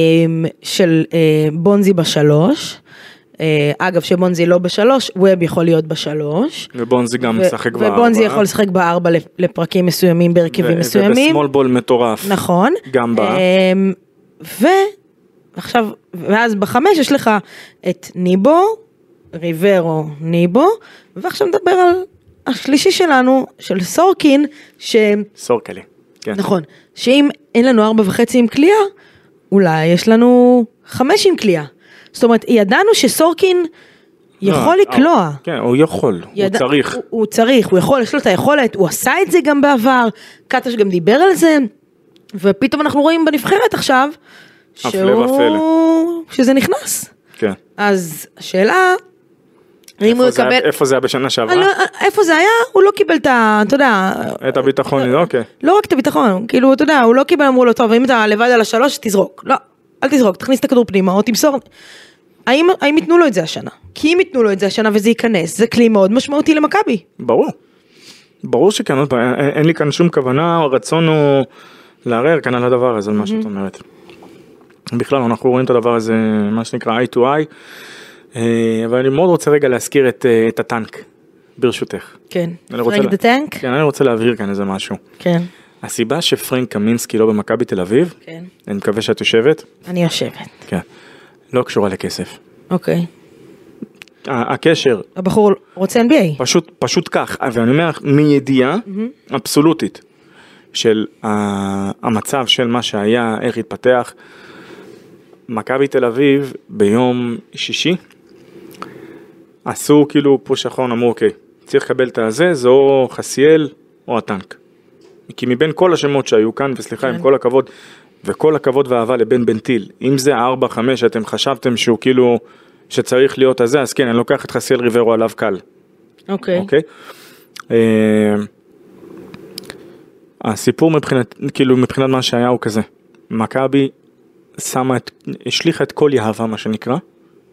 S2: של אה, בונזי בשלוש. אה, אגב, שבונזי לא בשלוש, ווב יכול להיות בשלוש.
S3: ובונזי גם
S2: ו-
S3: משחק בארבע.
S2: ובונזי יכול לשחק בארבע לפ- לפרקים מסוימים, בהרכבים
S3: ו-
S2: מסוימים.
S3: ובסמול בול מטורף.
S2: נכון.
S3: גם ב-
S2: אמ, ו... עכשיו, ואז בחמש יש לך את ניבו, ריברו, ניבו, ועכשיו נדבר על השלישי שלנו, של סורקין, ש...
S3: סורקלי. כן.
S2: נכון, שאם אין לנו ארבע וחצי עם קליעה, אולי יש לנו חמש עם קליעה. זאת אומרת, ידענו שסורקין יכול
S3: לא,
S2: לקלוע.
S3: אה, כן, הוא יכול, הוא
S2: ידע-
S3: צריך.
S2: הוא, הוא צריך, הוא יכול, יש לו את היכולת, הוא עשה את זה גם בעבר, קטש גם דיבר על זה, ופתאום אנחנו רואים בנבחרת עכשיו, שהוא...
S3: והפלא.
S2: שזה נכנס.
S3: כן.
S2: אז השאלה, אם הוא
S3: איפה זה היה-
S2: יקבל...
S3: איפה זה היה בשנה
S2: אני
S3: שעברה?
S2: לא- איפה זה היה? הוא לא קיבל את ה... אתה יודע,
S3: את הביטחון, לא, אוקיי.
S2: לא רק את הביטחון, כאילו, אתה יודע, הוא לא קיבל, אמרו לו, טוב, אם אתה לבד על השלוש, תזרוק. לא, אל תזרוק, תכניס את הכדור פנימה או תמסור. האם, האם ייתנו לו את זה השנה? כי אם ייתנו לו את זה השנה וזה ייכנס, זה כלי מאוד משמעותי למכבי.
S3: ברור. ברור שכן, עוד פעם, אין, אין לי כאן שום כוונה, הרצון הוא לערער כאן על הדבר הזה, על מה שאת אומרת. בכלל, אנחנו רואים את הדבר הזה, מה שנקרא eye to eye, אה, אבל אני מאוד רוצה רגע להזכיר את, אה, את הטנק, ברשותך.
S2: כן.
S3: אני רוצה
S2: פרנק
S3: לה-
S2: דה טנק?
S3: כן, אני רוצה להבהיר כאן איזה משהו.
S2: כן.
S3: הסיבה שפרנק קמינסקי לא במכבי תל אביב,
S2: כן.
S3: אני מקווה שאת יושבת,
S2: אני יושבת.
S3: כן, לא קשורה לכסף.
S2: אוקיי.
S3: ה- הקשר
S2: הבחור רוצה NBA.
S3: פשוט, פשוט כך, ואני אומר לך, מידיעה אבסולוטית של ה- המצב של מה שהיה, איך התפתח. מכבי תל אביב ביום שישי עשו כאילו פוש אחרון, אמרו אוקיי, צריך לקבל את הזה, זה או חסיאל או הטנק. כי מבין כל השמות שהיו כאן, וסליחה, עם כל הכבוד, וכל הכבוד והאהבה לבן בן טיל, אם זה הארבע חמש שאתם חשבתם שהוא כאילו, שצריך להיות הזה, אז כן, אני לוקח את חסיאל ריברו עליו קל.
S2: אוקיי.
S3: אוקיי? אה, הסיפור מבחינת, כאילו מבחינת מה שהיה הוא כזה, מכבי שמה את, השליכה את כל יהבה מה שנקרא,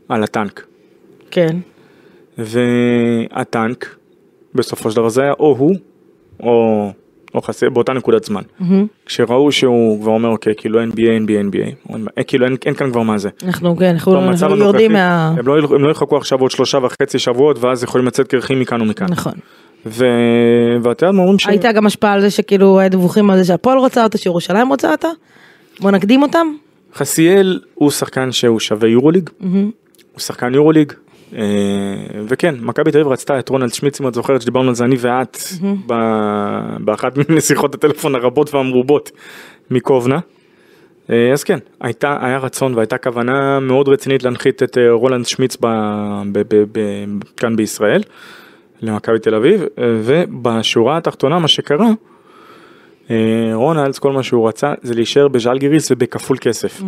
S3: על הטנק,
S2: כן.
S3: והטנק בסופו של דבר זה היה או הוא, או, או חסר, באותה נקודת זמן. כשראו שהוא כבר אומר אוקיי, כאילו NBA, NBA, NBA, אה, כאילו אין, אין כאן כבר מה זה.
S2: אנחנו, כן, אנחנו
S3: במצב
S2: אנחנו
S3: הנוכחי,
S2: יורדים מה...
S3: הם לא ילכו- הם לא יחכו עכשיו עוד שלושה וחצי שבועות ואז יכולים לצאת קרחים מכאן ומכאן.
S2: נכון.
S3: ו... ואתה יודע מה אומרים ש...
S2: הייתה גם השפעה על זה שכאילו היה דיווחים על זה שהפועל רוצה אותה, שירושלים רוצה אותה? בוא נקדים אותם?
S3: חסיאל הוא שחקן שהוא שווה יורוליג, הוא שחקן יורוליג, אה, וכן, מכבי תל אביב רצתה את רונלד שמיץ, אם את זוכרת שדיברנו על זה אני ואת, ב- באחת משיחות הטלפון הרבות והמרובות מקובנה. אה, אז כן, הייתה, היה רצון והייתה כוונה מאוד רצינית להנחית את אה, רולנד שמיץ ב, ב, ב, ב, כאן בישראל, למכבי תל אביב, אה, ובשורה התחתונה מה שקרה, אה, רונלדס כל מה שהוא רצה זה להישאר בז'לגיריס ובכפול כסף.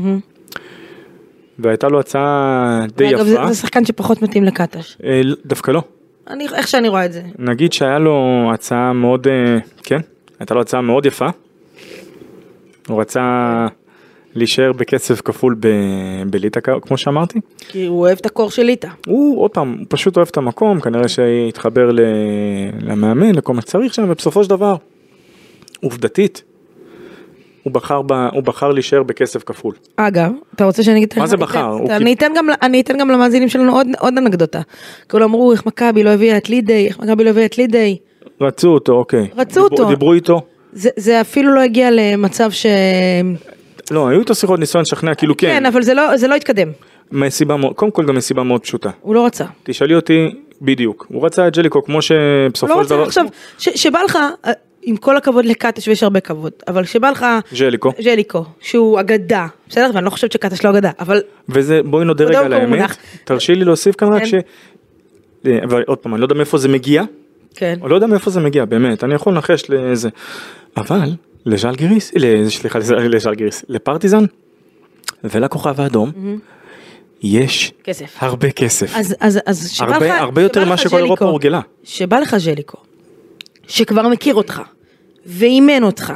S3: והייתה לו הצעה די
S2: אגב,
S3: יפה,
S2: זה- זה שחקן שפחות מתאים לקטש.
S3: אה, דווקא לא.
S2: אני, איך שאני רואה את זה.
S3: נגיד שהיה לו הצעה מאוד, אה, כן, הייתה לו הצעה מאוד יפה. הוא רצה להישאר בכסף כפול ב- בליטא, כמו שאמרתי.
S2: כי הוא אוהב את הקור של ליטא.
S3: הוא עוד פעם, הוא פשוט אוהב את המקום, כנראה שהתחבר ל... למאמן, לכל מה שצריך שם, ובסופו של דבר, עובדתית, הוא בחר, ב... הוא בחר להישאר בכסף כפול.
S2: אגב, אתה רוצה שאני אגיד לך?
S3: מה זה
S2: אני
S3: בחר?
S2: אתן-
S3: הוא
S2: אני אתן גם ל- אני אתן גם למאזינים שלנו עוד- עוד אנקדוטה. כאילו אמרו איך מכבי לא הביאה את לידי, איך מכבי לא הביאה את לידי.
S3: רצו אותו, אוקיי.
S2: רצו
S3: דיברו,
S2: אותו.
S3: דיברו איתו.
S2: זה- זה אפילו לא הגיע למצב ש...
S3: לא, היו איתו שיחות ניסיון לשכנע, כאילו כן.
S2: כן, אבל זה לא- זה לא התקדם.
S3: מסיבה, מאוד- קודם כל גם מסיבה מאוד פשוטה.
S2: הוא לא רצה.
S3: תשאלי אותי, בדיוק. הוא רצה את ג'ליקו, כמו
S2: הוא לא
S3: שבסופו של
S2: רוצה
S3: דבר...
S2: עכשיו, ש- שבא לך, אה, עם כל הכבוד לקטש ויש הרבה כבוד, אבל שבא לך
S3: ג'ליקו.
S2: ז'ליקו, שהוא אגדה, בסדר? ואני לא חושבת שקטש לא אגדה, אבל
S3: וזה בואי נודה רגע
S2: קודם
S3: על
S2: כל הוא
S3: האמת,
S2: מונח.
S3: תרשי לי להוסיף כאן רק
S2: כן.
S3: ש... אה, אבל עוד פעם, אני לא יודע מאיפה זה מגיע,
S2: כן,
S3: אני לא יודע מאיפה זה מגיע, באמת, אני יכול לנחש לזה, אבל לז'לגיריס, ל- סליחה, לז- לז'לגיריס, לפרטיזן ולכוכב האדום, יש
S2: כסף.
S3: הרבה כסף,
S2: אז- אז אז שבא לך,
S3: הרבה הרבה יותר
S2: שבא
S3: ממה
S2: לך
S3: שכל אירופה
S2: ז'ליקו,
S3: הורגלה,
S2: שבא לך ז'ליקו, שכבר מכיר אותך, ואימן אותך,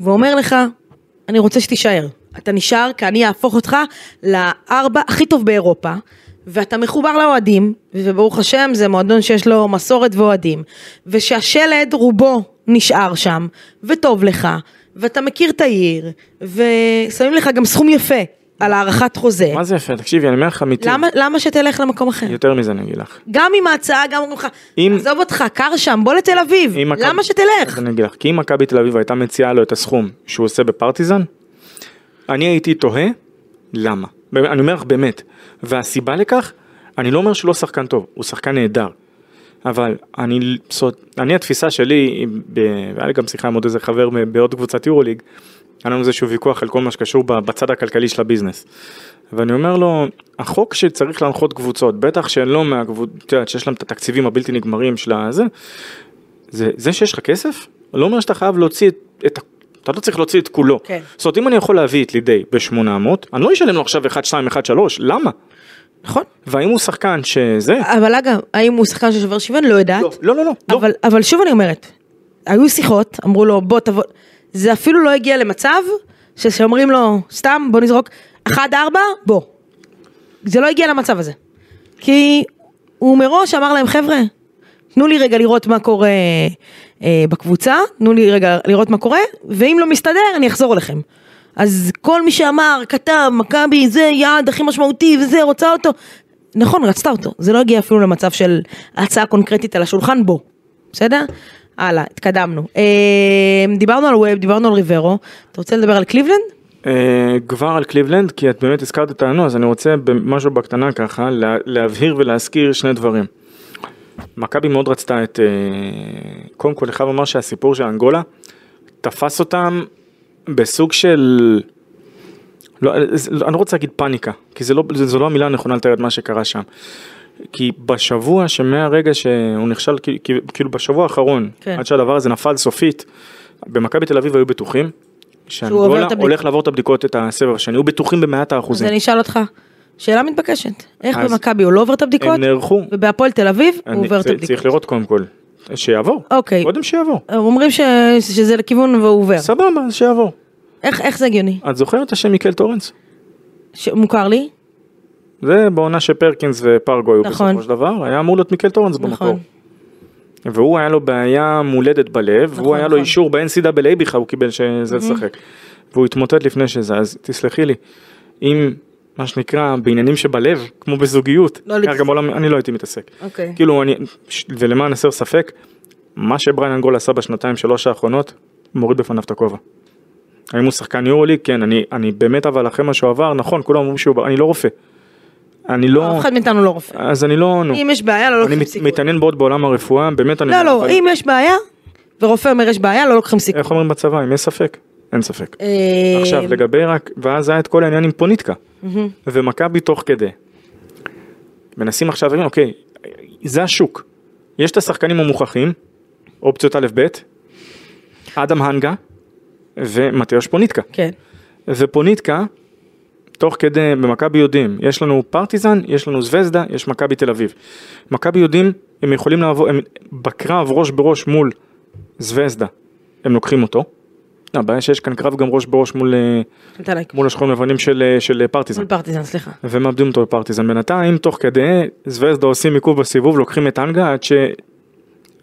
S2: ואומר לך, אני רוצה שתישאר. אתה נשאר כי אני אהפוך אותך לארבע הכי טוב באירופה, ואתה מחובר לאוהדים, וברוך השם זה מועדון שיש לו מסורת ואוהדים, ושהשלד רובו נשאר שם, וטוב לך, ואתה מכיר את העיר, ושמים לך גם סכום יפה על הארכת חוזה.
S3: מה זה יפה, תקשיבי, אני אומר לך אמיתי,
S2: למה, למה שתלך למקום אחר?
S3: יותר מזה אני אגיד לך,
S2: גם עם ההצעה, גם אומרים לך,
S3: אם-
S2: עזוב אותך, קר שם, בוא לתל אביב,
S3: אם מכבי-
S2: למה
S3: אז
S2: שתלך?
S3: אני אגיד לך, כי אם מכבי תל אביב הייתה מציעה לו את הסכום שהוא עושה בפרטיזן, אני הייתי תוהה למה. באמת, אני אומר לך באמת. והסיבה לכך, אני לא אומר שהוא לא שחקן טוב, הוא שחקן נהדר. אבל אני, זאת- אני התפיסה שלי, עם- ב- והיה לי גם שיחה עם עוד איזה חבר מ- בעוד קבוצת יורוליג, היה לנו איזשהו ויכוח על כל מה שקשור ב- בצד הכלכלי של הביזנס. ואני אומר לו, החוק שצריך להנחות קבוצות, בטח שהן לא מהקבוצות, את יודעת, שיש להן את התקציבים הבלתי נגמרים של הזה, זה, זה שיש לך כסף, לא אומר שאתה חייב להוציא את, את ה- אתה לא צריך להוציא את כולו.
S2: כן.
S3: זאת אומרת, אם אני יכול להביא את לידי ב-800, אני לא אשלם לו עכשיו 1, 2, 1, 3, למה?
S2: נכון.
S3: והאם הוא שחקן שזה?
S2: אבל אגב, האם הוא שחקן ששובר שוויון? לא יודעת.
S3: לא, לא, לא, לא. לא.
S2: אבל, אבל שוב אני אומרת, היו שיחות, אמרו לו בוא תבוא, זה אפילו לא הגיע למצב ש- שאומרים לו סתם בוא נזרוק 1-4 בוא. זה לא הגיע למצב הזה. כי הוא מראש אמר להם חבר'ה, תנו לי רגע לראות מה קורה אה, בקבוצה, תנו לי רגע לראות מה קורה, ואם לא מסתדר אני אחזור אליכם. אז כל מי שאמר, כתב, מכבי, זה יעד הכי משמעותי וזה, רוצה אותו. נכון, רצתה אותו. זה לא הגיע אפילו למצב של הצעה קונקרטית על השולחן, בוא. בסדר? הלאה, התקדמנו. אה, דיברנו על ווב, דיברנו על ריברו. אתה רוצה לדבר על קליבלנד?
S3: אה, כבר על קליבלנד, כי את באמת הזכרת את הענו, אז אני רוצה במשהו בקטנה ככה, לה, להבהיר ולהזכיר שני דברים. מכבי מאוד רצתה את... אה, קודם כל, אני חייב לומר שהסיפור של אנגולה תפס אותם בסוג של... לא, זה- אני לא רוצה להגיד פאניקה, כי זה לא, זה- זו לא המילה הנכונה לתאר את מה שקרה שם. כי בשבוע שמהרגע שהוא נכשל, כי- כי- כאילו בשבוע האחרון,
S2: כן.
S3: עד שהדבר הזה נפל סופית, במכבי תל אביב היו בטוחים,
S2: עובר את
S3: שאנגולה
S2: הבדיקות.
S3: הולך לעבור את הבדיקות את הסבב השני, היו בטוחים במאת
S2: אז
S3: האחוזים.
S2: אני אשאל אותך. שאלה מתבקשת. איך
S3: אז-
S2: במכבי הוא לא עובר את הבדיקות?
S3: הם נערכו.
S2: ובהפועל תל אביב הוא
S3: אני-
S2: עובר את
S3: צ-
S2: הבדיקות.
S3: צריך לראות קודם כל, שיעבור,
S2: אוקיי. כן.
S3: קודם שיעבור,
S2: הם אומרים ש... שזה לכיוון והוא עובר.
S3: סבבה, אז שיעבור.
S2: איך, איך זה הגיוני?
S3: את זוכרת את השם מיקל טורנס?
S2: ש... מוכר לי?
S3: זה בעונה שפרקינס ופרגו היו
S2: נכון.
S3: בסופו של דבר, היה אמור להיות מיקל טורנס במקור.
S2: נכון.
S3: והוא היה לו בעיה מולדת בלב,
S2: נכון,
S3: והוא היה לו
S2: נכון.
S3: אישור ב-NCAA בכלל, הוא קיבל שזה לשחק. והוא התמוטט לפני שזה, אז תסלחי לי, אם, מה שנקרא, בעניינים שבלב, כמו בזוגיות,
S2: לא
S3: כך
S2: להתעסק.
S3: גם בעולם, אני לא הייתי מתעסק.
S2: אוקיי.
S3: כאילו, אני, ש- ולמען הסר ספק, מה שבריין אנגול עשה בשנתיים שלוש האחרונות, מוריד בפניו את הכובע. האם הוא שחקן יורו-ליג? כן, אני, אני באמת, אבל אחרי מה שהוא עבר, נכון, כולם אמרו שהוא, בר- אני לא רופא. אני לא,
S2: אף אחד מאיתנו לא רופא.
S3: אז אני לא, נו,
S2: אם יש בעיה, לא
S3: אני
S2: לוקחים
S3: מת-
S2: סיכון.
S3: מתעניין מאוד בעולם הרפואה, באמת אני,
S2: לא,
S3: אומר,
S2: לא,
S3: אבל-
S2: אם יש בעיה, ורופא אומר יש בעיה, לא לוקחים סיכון.
S3: איך אומרים בצבא, אם יש ספק, אין ספק.
S2: אה,
S3: עכשיו לגבי רק, ואז היה את כל העניין עם פוניטקה, ומכבי תוך כדי. מנסים עכשיו להבין, אוקיי, זה השוק. יש את השחקנים המוכחים, אופציות א' ב', אדם הנגה ומתיוש פוניטקה.
S2: כן.
S3: ופוניטקה, תוך כדי, במכבי יודעים, יש לנו פרטיזן, יש לנו זווזדה, יש מכבי תל אביב. מכבי יודעים, הם יכולים לעבור, הם בקרב ראש בראש מול זווזדה, הם לוקחים אותו. הבעיה שיש כאן קרב גם ראש בראש מול, אה,
S2: נתן לייק.
S3: מול השחורים לבנים של, אה, של אה, פרטיזן.
S2: מול פרטיזן, סליחה.
S3: ומאבדים אותו בפרטיזן. בינתיים, תוך כדי, זווזדה עושים עיכוב בסיבוב, לוקחים את הנגה עד ש...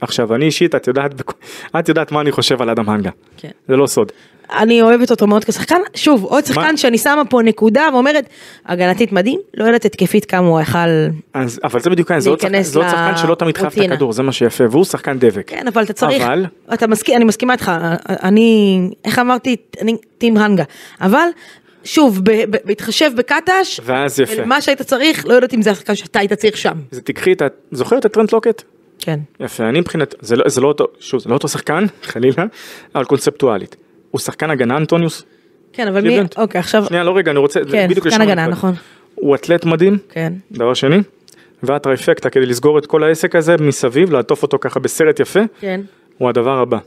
S3: עכשיו, אני אישית, את יודעת, בכ- את יודעת מה אני חושב על אדם הנגה.
S2: כן.
S3: זה לא סוד.
S2: אני אוהבת אותו מאוד כשחקן. שוב, עוד שחקן
S3: מה?
S2: שאני שמה פה נקודה ואומרת, הגנתית מדהים, לא יודעת התקפית כמה הוא יכל...
S3: אז, אבל זה בדיוק העניין, זה עוד שחקן-
S2: להיכנס
S3: זה עוד שחקן שלא תמיד חייב את
S2: לרוטינה.
S3: הכדור, זה מה שיפה, והוא שחקן דבק.
S2: כן, אבל אתה צריך...
S3: אבל-
S2: אתה מסכים, אני מסכימה איתך, אני... איך אמרתי? אני טים הנגה. אבל, שוב, ב- ב- בהתחשב בקטש,
S3: ואז יפה.
S2: מה שהיית צריך, לא יודעת אם זה השחקן שאתה היית צריך שם.
S3: זה תקחי את ה... זוכרת את טרנט לוקט?
S2: כן.
S3: יפה, אני מבחינת... זה לא, זה לא אותו, שוב, זה לא אותו שחקן, חלילה, אבל קונספטואלית. הוא שחקן הגנה אנטוניוס?
S2: כן, אבל מי...
S3: קליבלנד.
S2: אוקיי, עכשיו...
S3: שנייה, לא רגע, אני רוצה...
S2: כן,
S3: בדיוק
S2: שחקן
S3: לשם
S2: הגנה,
S3: אני בא.
S2: נכון.
S3: הוא אתלט מדהים,
S2: כן.
S3: דבר שני, והטרייפקטה כדי לסגור את כל העסק הזה מסביב, לעטוף אותו ככה בסרט יפה,
S2: כן.
S3: הוא הדבר הבא.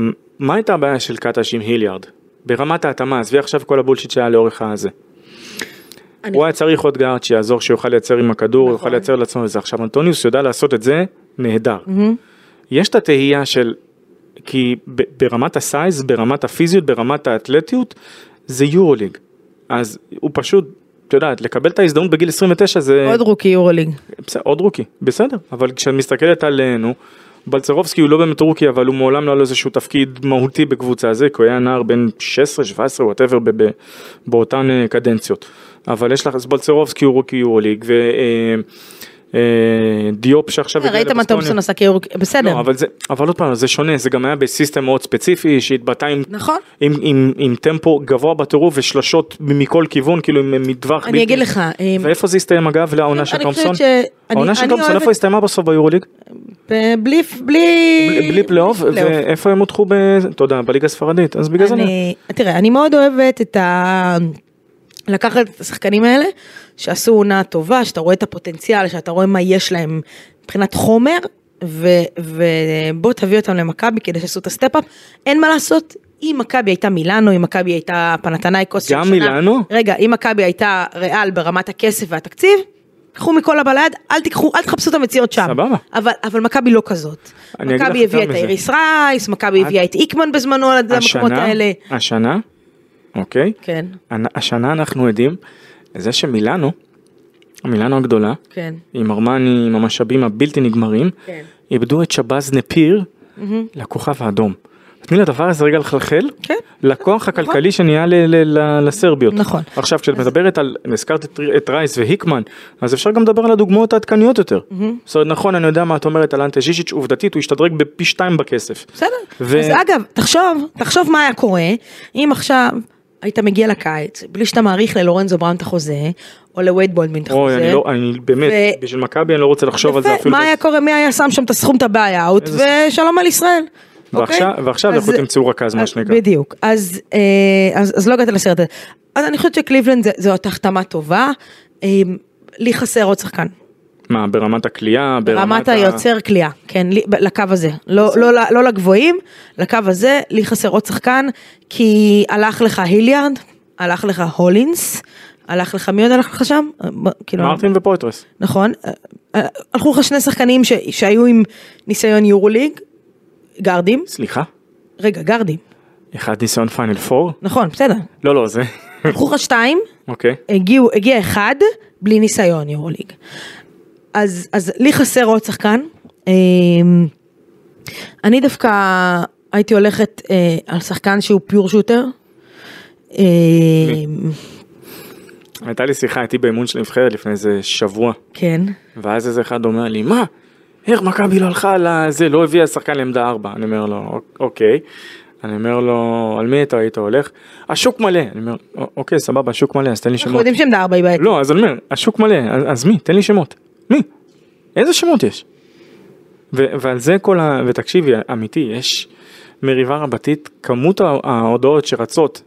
S3: מ- מה הייתה הבעיה של קטש עם היליארד? ברמת ההתאמה, עזבי עכשיו כל הבולשיט שהיה לאורך הזה.
S2: אני-
S3: הוא היה צריך עוד גארד שיעזור, שיוכל לייצר עם הכדור,
S2: נכון.
S3: יוכל לייצר לעצמו את זה. עכשיו אנטוניוס יודע לעשות את זה נהדר. יש את התהייה של, כי ב- ברמת הסייז, ברמת הפיזיות, ברמת האתלטיות, זה יורוליג. אז הוא פשוט, את יודעת, לקבל את ההזדמנות בגיל 29 זה...
S2: עוד רוקי יורוליג.
S3: בסדר, עוד רוקי, בסדר, אבל כשאת מסתכלת על, נו, בלצרובסקי הוא לא באמת רוקי, אבל הוא מעולם לא היה לו איזשהו תפקיד מהותי בקבוצה הזו, כי הוא היה נער בן 16, 17, וואטאבר, ב- ב- באותן אה, קדנציות. אבל יש לך, אז בלצרובסקי הוא רוקי יורוליג, ודיופ אה, שעכשיו הגיע
S2: אה, ראית מה
S3: לבסקוניה.
S2: תומסון עשה כיורוקי... בסדר.
S3: לא, אבל זה, אבל עוד פעם, זה שונה, זה גם היה בסיסטם מאוד ספציפי, שהתבטא עם...
S2: נכון.
S3: עם, עם, עם טמפו גבוה בטירוף ושלשות מכל כיוון כאילו עם עם מטווח
S2: אני אגיד לך, אה,
S3: ואיפה זה הסתיים אגב לעונה
S2: אני
S3: של
S2: חושבת
S3: תומפסון?
S2: שאני-
S3: העונה של
S2: אני
S3: תומפסון
S2: אוהבת-
S3: איפה הסתיימה בסוף ביורוליג?
S2: ב- בלי,
S3: בלי
S2: אה, בלי...
S3: בלי פלייאוף, ואיפה הם הודחו ב... תודה, בליגה הספרדית, אז בגלל זה אני...
S2: אני, תראה, אני מאוד אוהבת את ה... לקחת את השחקנים האלה, שעשו עונה טובה, שאתה רואה את הפוטנציאל, שאתה רואה מה יש להם מבחינת חומר, ו... ובוא תביא אותם למכבי כדי שיעשו את הסטפ-אפ. אין מה לעשות, אם מכבי הייתה מילאנו, אם מכבי הייתה פנתנייקוס של
S3: גם
S2: שנה-
S3: מילאנו?
S2: רגע, אם מכבי הייתה ריאל ברמת הכסף והתקציב, קחו מכל הבא ליד, אל תיקחו, אל תחפשו את המציאות שם.
S3: סבבה.
S2: אבל, אבל מכבי לא כזאת.
S3: אני אגיד לך
S2: מכבי
S3: יותר
S2: הביאה את
S3: מזה.
S2: האיריס רייס, מכבי
S3: את-
S2: הביאה את איקמן בזמנו על המקומות
S3: השנה,
S2: האלה.
S3: השנה, אוקיי,
S2: כן,
S3: הנ- השנה אנחנו עדים לזה שמילאנו, מילאנו הגדולה,
S2: כן.
S3: עם ארמני, עם המשאבים הבלתי נגמרים,
S2: כן.
S3: איבדו את שבאז נפיר לכוכב האדום. תני לדבר הזה רגע לחלחל,
S2: כן.
S3: לכוח הכלכלי שנהיה ל- ל- ל- לסרביות.
S2: נכון.
S3: עכשיו כשאת מדברת על, הזכרת את- את רייס והיקמן, אז אפשר גם לדבר על הדוגמאות העדכניות יותר. זאת אומרת, נכון, אני יודע מה את אומרת על אנטה ז'יז'יץ', עובדתית הוא השתדרג בפי שתיים בכסף.
S2: בסדר.
S3: ו-
S2: ו... אז אגב, תחשוב, תחשוב מה היה קורה אם עכשיו היית מגיע לקיץ, בלי שאתה מעריך ללורנזו בראון את החוזה, או לווייד בולדמין את החוזה.
S3: אוי, אני לא, אני באמת,
S2: נכון, ו-
S3: בשביל מכבי אני לא רוצה לחשוב על זה
S2: יפה,
S3: אפילו.
S2: מה
S3: ב-
S2: היה קורה, מי היה שם שם את הסכום, את הבעיה אאוט,
S3: איזה-
S2: ושלום על ישראל.
S3: ועכשיו-
S2: אוקיי?
S3: ועכשיו
S2: אז-
S3: לכו תמצאו רכז, מה
S2: אז-
S3: שנקרא.
S2: בדיוק, אז, אה, אז, אז לא הגעת לסרט הזה. אז אני חושבת שקליבלנד זה- זו החתמה טובה, אה, לי חסר עוד שחקן.
S3: מה, ברמת הכלייה, ברמת...
S2: ברמת
S3: ה-
S2: היוצר קליעה, כן, לי- ב- לקו הזה, לא, לא, ל- לא לגבוהים, לקו הזה, לי חסר עוד שחקן, כי הלך לך היליארד, הלך לך הולינס, הלך לך, מי עוד הלך לך שם? אה, ב- כאילו,
S3: מרטין ופויטרס.
S2: נכון, אה, אה, הלכו לך שני שחקנים ש, שהיו עם ניסיון יורוליג, גרדים,
S3: סליחה?
S2: רגע, גרדים,
S3: אחד ניסיון פיינל פור?
S2: נכון, בסדר,
S3: לא, לא, זה...
S2: הלכו לך שתיים,
S3: אוקיי.
S2: הגיעו, הגיע אחד בלי ניסיון יורוליג. אז, אז לי חסר עוד שחקן. אמ, אני דווקא הייתי הולכת אה, על שחקן שהוא פיור שוטר. אמ,
S3: הייתה לי שיחה איתי באימון של נבחרת לפני איזה שבוע,
S2: כן,
S3: ואז איזה אחד אומר לי, מה? איך מכבי לא הלכה על זה, לא הביאה שחקן לעמדה ארבע. אני אומר לו, "אוק- אוקיי. אני אומר לו, על מי אתה היית הולך? השוק מלא. אני אומר, "א- אוקיי, סבבה, השוק מלא, אז תן לי
S2: אנחנו
S3: שמות.
S2: יודעים שעמדה ארבע היא בעייתית.
S3: לא, אז אני אומר, השוק מלא, אז, אז מי? תן לי שמות. מי? איזה שמות יש? ו, ועל זה כל ה... ותקשיבי, אמיתי, יש מריבה רבתית, כמות ה- ההודעות שרצות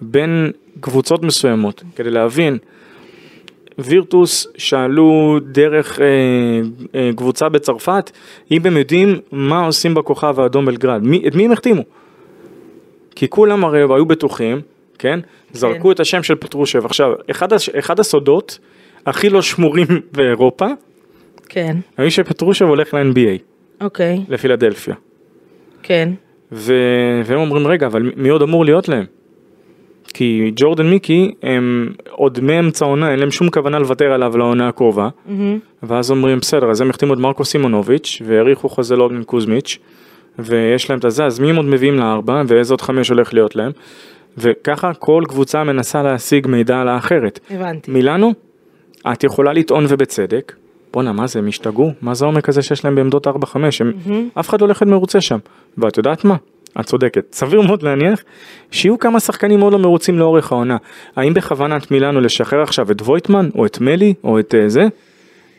S3: בין קבוצות מסוימות, כדי להבין, וירטוס שאלו דרך אה, אה, קבוצה בצרפת, אם הם יודעים מה עושים בכוכב האדום בלגרד, מי, את מי הם החתימו? כי כולם הרי היו בטוחים, כן? זרקו את השם של פטרושב. עכשיו, אחד, הש- אחד הסודות הכי לא שמורים באירופה,
S2: כן,
S3: היו שפטרושב הולך ל-NBA,
S2: אוקיי,
S3: לפילדלפיה.
S2: כן,
S3: ו... והם אומרים, רגע, אבל מי עוד אמור להיות להם? כי ג'ורדן מיקי, הם עוד מאמצע העונה, אין להם שום כוונה לוותר עליו לעונה הקרובה. ואז אומרים, בסדר, אז הם החתימו את מרקו סימונוביץ', והאריכו חוזה לאוגן קוזמיץ', ויש להם את הזה, אז מי הם עוד מביאים לארבע, ואיזה עוד חמש הולך להיות להם? וככה כל קבוצה מנסה להשיג מידע על האחרת.
S2: הבנתי.
S3: מילאנו, את יכולה לטעון ובצדק, בואנה מה זה הם השתגעו, מה זה העומק הזה שיש להם בעמדות 4-5, הם, אף אחד לא הולך להיות מרוצה שם, ואת יודעת מה, את צודקת, סביר מאוד להניח שיהיו כמה שחקנים מאוד לא מרוצים לאורך העונה, האם בכוונת מילאנו לשחרר עכשיו את וויטמן או את מלי או את אה, זה,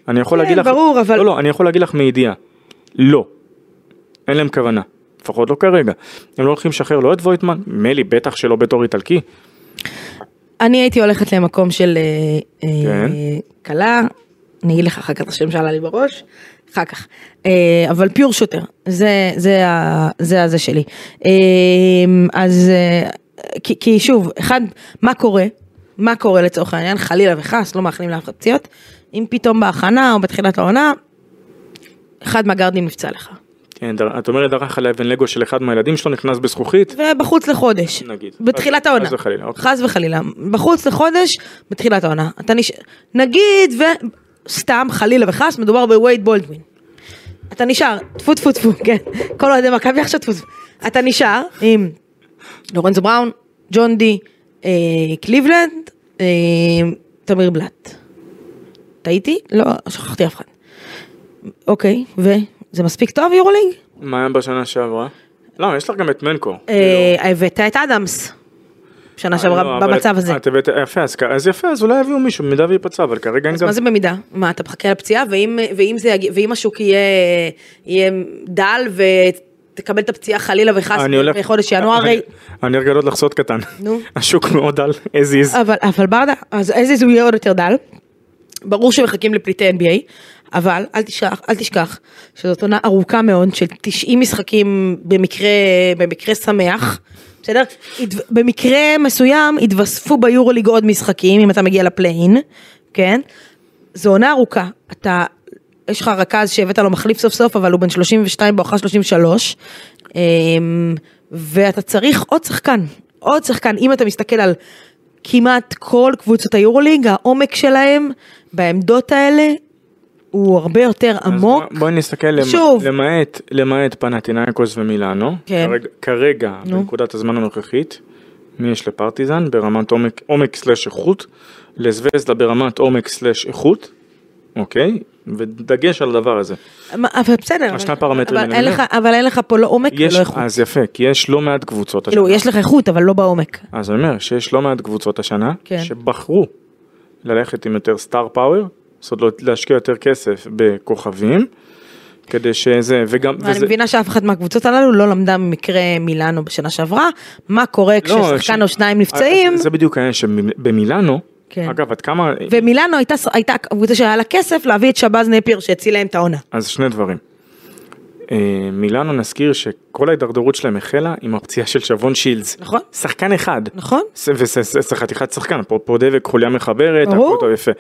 S3: אני יכול
S2: כן,
S3: להגיד לך,
S2: ברור, אבל-
S3: לא לא, אני יכול להגיד לך מידיעה, לא, אין להם כוונה. לפחות לא כרגע, הם לא הולכים לשחרר לא את וויטמן, מלי בטח שלא בתור איטלקי,
S2: אני הייתי הולכת למקום של אה, אה,
S3: כן.
S2: כלה, אני אגיד לך אחר כך את השם שעלה לי בראש, אחר כך, אה, אבל פיור שוטר, זה, זה, ה- זה הזה שלי. אה, אז אה, כי, כי שוב, אחד, מה קורה? מה קורה לצורך העניין? חלילה וחס, לא מאחלים לאף אחד פציעות, אם פתאום בהכנה או בתחילת העונה, אחד מהגרדים נפצע לך,
S3: כן, דר- את אומרת דרך על אבן לגו של אחד מהילדים שלו נכנס בזכוכית,
S2: ובחוץ לחודש,
S3: נגיד.
S2: בתחילת
S3: אז-
S2: העונה,
S3: חס וחלילה, אוקיי.
S2: חס וחלילה, בחוץ לחודש, בתחילת העונה, אתה נש... נגיד ו... סתם חלילה וחס מדובר בווייד בולדווין, אתה נשאר, טפו טפו טפו, כן, כל אוהדי מכבי עכשיו טפו טפו, אתה נשאר עם לורנזו בראון, ג'ון די, אה, קליבלנד, אה, תמיר בלאט, טעיתי? לא, שכחתי אף אחד, אוקיי, וזה מספיק טוב יורולינג?
S3: מה היה בשנה שעברה? לא, יש לך גם את מנקו.
S2: אה, הבאת את אה, אדמס. שנה שעברה
S3: לא, אבל
S2: במצב
S3: את-
S2: הזה.
S3: את הבאת- יפה, אז כ- אז יפה, אז אולי יביאו מישהו במידה וייפצע, אבל כרגע אין
S2: אז
S3: גם...
S2: מה זה במידה? מה, אתה מחכה לפציעה, ואם, ואם, זה, יגיע- ואם השוק יהיה, יהיה דל ותקבל את הפציעה חלילה וחס
S3: אני הולך-
S2: בחודש ינואר,
S3: אני-
S2: הרי...
S3: אני הרגע עוד לחסות קטן.
S2: נו.
S3: השוק מאוד על as is.
S2: אבל, אבל ברדה, אז איזה זה יהיה עוד יותר דל? ברור שמחכים לפליטי NBA, אבל אל תשכח, אל תשכח שזאת עונה ארוכה מאוד של 90 משחקים במקרה, במקרה שמח. בסדר? התו- במקרה מסוים התווספו ביורוליג עוד משחקים אם אתה מגיע לפליין, כן? זו עונה ארוכה, אתה, יש לך רכז שהבאת לו מחליף סוף סוף, אבל הוא בן 32 בואכה 33, אמ, ואתה צריך עוד שחקן, עוד שחקן, אם אתה מסתכל על כמעט כל קבוצות היורוליג, העומק שלהם בעמדות האלה הוא הרבה יותר
S3: אז
S2: עמוק.
S3: בוא- בואי נסתכל, למ-
S2: שוב.
S3: למעט- למעט פנטינאיקוס ומילאנו,
S2: כן.
S3: כרגע- כרגע,
S2: נו.
S3: בנקודת הזמן הנוכחית, מי יש לפרטיזן ברמת עומק- עומק סלש איכות, לזווזדה ברמת עומק סלש איכות, אוקיי? ודגש על הדבר הזה.
S2: מה, אבל בסדר, אבל-
S3: שני הפרמטרים
S2: אבל
S3: האלה,
S2: אין
S3: אני
S2: לך- אבל אין לך פה לא עומק
S3: יש, אה,
S2: ולא איכות.
S3: אז יפה, כי יש לא מעט קבוצות
S2: כאילו, יש לך איכות, אבל לא בעומק.
S3: אז אני אומר שיש לא מעט קבוצות השנה
S2: כן.
S3: שבחרו ללכת עם יותר סטאר פאוור, זאת אומרת לא- להשקיע יותר כסף בכוכבים, כדי שזה, וגם,
S2: אני מבינה שאף אחת מהקבוצות הללו לא למדה ממקרה מילאנו בשנה שעברה, מה קורה כששחקן
S3: לא, ש- אה,
S2: או שניים נפצעים,
S3: זה בדיוק העניין שבמילאנו,
S2: כן.
S3: אגב עד כמה,
S2: ומילאנו הייתה ס- הייתה הקבוצה שהיה לה כסף להביא את שבאז נפיר שהציל להם את העונה.
S3: אז שני דברים. אה, מילאנו נזכיר שכל ההידרדרות שלהם החלה עם הפציעה של שבון שילדס.
S2: נכון.
S3: שחקן אחד.
S2: נכון?
S3: וזה חתיכת שחקן, פה, פה דבק, חוליה מחברת,
S2: ברור.
S3: הכל טוב יפה.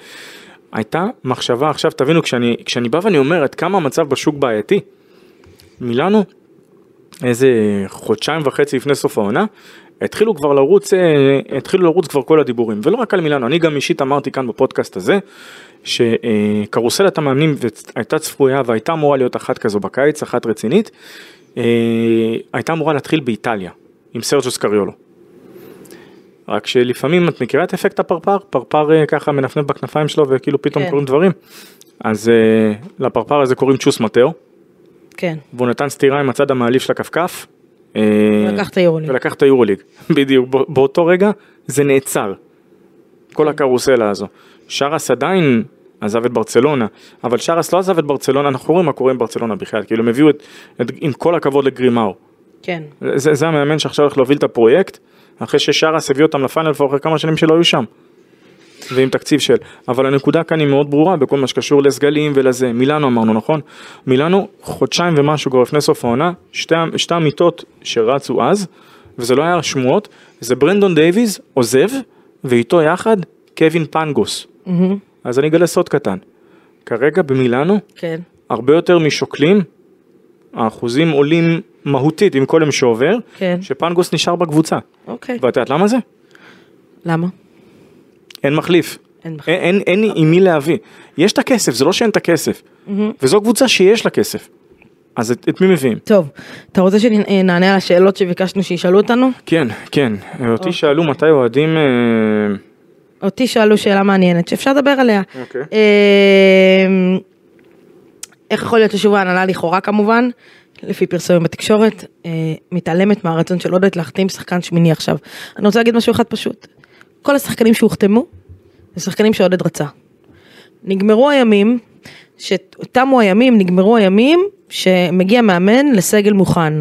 S3: הייתה מחשבה עכשיו, תבינו, כשאני, כשאני בא ואני אומר עד כמה המצב בשוק בעייתי, מילאנו, איזה חודשיים וחצי לפני סוף העונה, התחילו כבר לרוץ, אה, התחילו לרוץ כבר כל הדיבורים, ולא רק על מילאנו, אני גם אישית אמרתי כאן בפודקאסט הזה, שקרוסלת המאמנים הייתה צפויה והייתה אמורה להיות אחת כזו בקיץ, אחת רצינית, אה, הייתה אמורה להתחיל באיטליה, עם סרג'וס קריולו. רק שלפעמים את מכירה את אפקט הפרפר, פרפר אה, ככה מנפנף בכנפיים שלו וכאילו פתאום
S2: כן.
S3: קורים דברים. אז אה, לפרפר הזה קוראים צ'וס מטאו,
S2: כן.
S3: והוא נתן סטירה עם הצד המעליב של הכפכף. אה,
S2: לקח את היורוליג.
S3: ולקח את היורוליג, בדיוק, בא- באותו רגע זה נעצר. כל הקרוסלה הזו. שרס עדיין עזב את ברצלונה, אבל שרס לא עזב את ברצלונה, אנחנו רואים מה קורה עם ברצלונה בכלל, כאילו הם הביאו את, את, עם כל הכבוד לגרימאו.
S2: כן.
S3: זה, זה המאמן שעכשיו הולך להוביל את הפרויקט, אחרי ששרס הביא אותם לפיינל פור אחרי כמה שנים שלא היו שם. ועם תקציב של, אבל הנקודה כאן היא מאוד ברורה בכל מה שקשור לסגלים ולזה, מילאנו אמרנו נכון? מילאנו חודשיים ומשהו כבר לפני סוף העונה, שתי, ה- שתי המיטות שרצו אז, וזה לא היה שמועות, זה ברנדון דייוויז עוזב, ואיתו יחד קווין פנגוס.
S2: מהמם.
S3: אז אני אגלה סוד קטן, כרגע במילאנו
S2: כן.
S3: הרבה יותר משוקלים, האחוזים עולים מהותית עם כל יום שעובר,
S2: כן.
S3: שפנגוס נשאר בקבוצה.
S2: אוקיי.
S3: ואת יודעת למה זה?
S2: למה?
S3: אין מחליף.
S2: אין בכלל.
S3: אין, אין, אין עם מי להביא. יש את הכסף, זה לא שאין את הכסף. וזו קבוצה שיש לה כסף. אז את, את מי מביאים?
S2: טוב, אתה רוצה שנענה על השאלות שביקשנו שישאלו אותנו?
S3: כן, כן.
S2: אוקיי.
S3: אותי שאלו מתי אוהדים... אה,
S2: אותי שאלו שאלה מעניינת שאפשר לדבר עליה.
S3: אוקיי.
S2: אמ, איך יכול להיות ששוב ההנהלה לכאורה כמובן, לפי פרסומים בתקשורת, אה, מתעלמת מהרצון של עודד להחתים שחקן שמיני עכשיו. אני רוצה להגיד משהו אחד פשוט. כל השחקנים שהוחתמו, זה שחקנים שעודד רצה. נגמרו הימים, שתמו הימים, נגמרו הימים, שמגיע מאמן לסגל מוכן.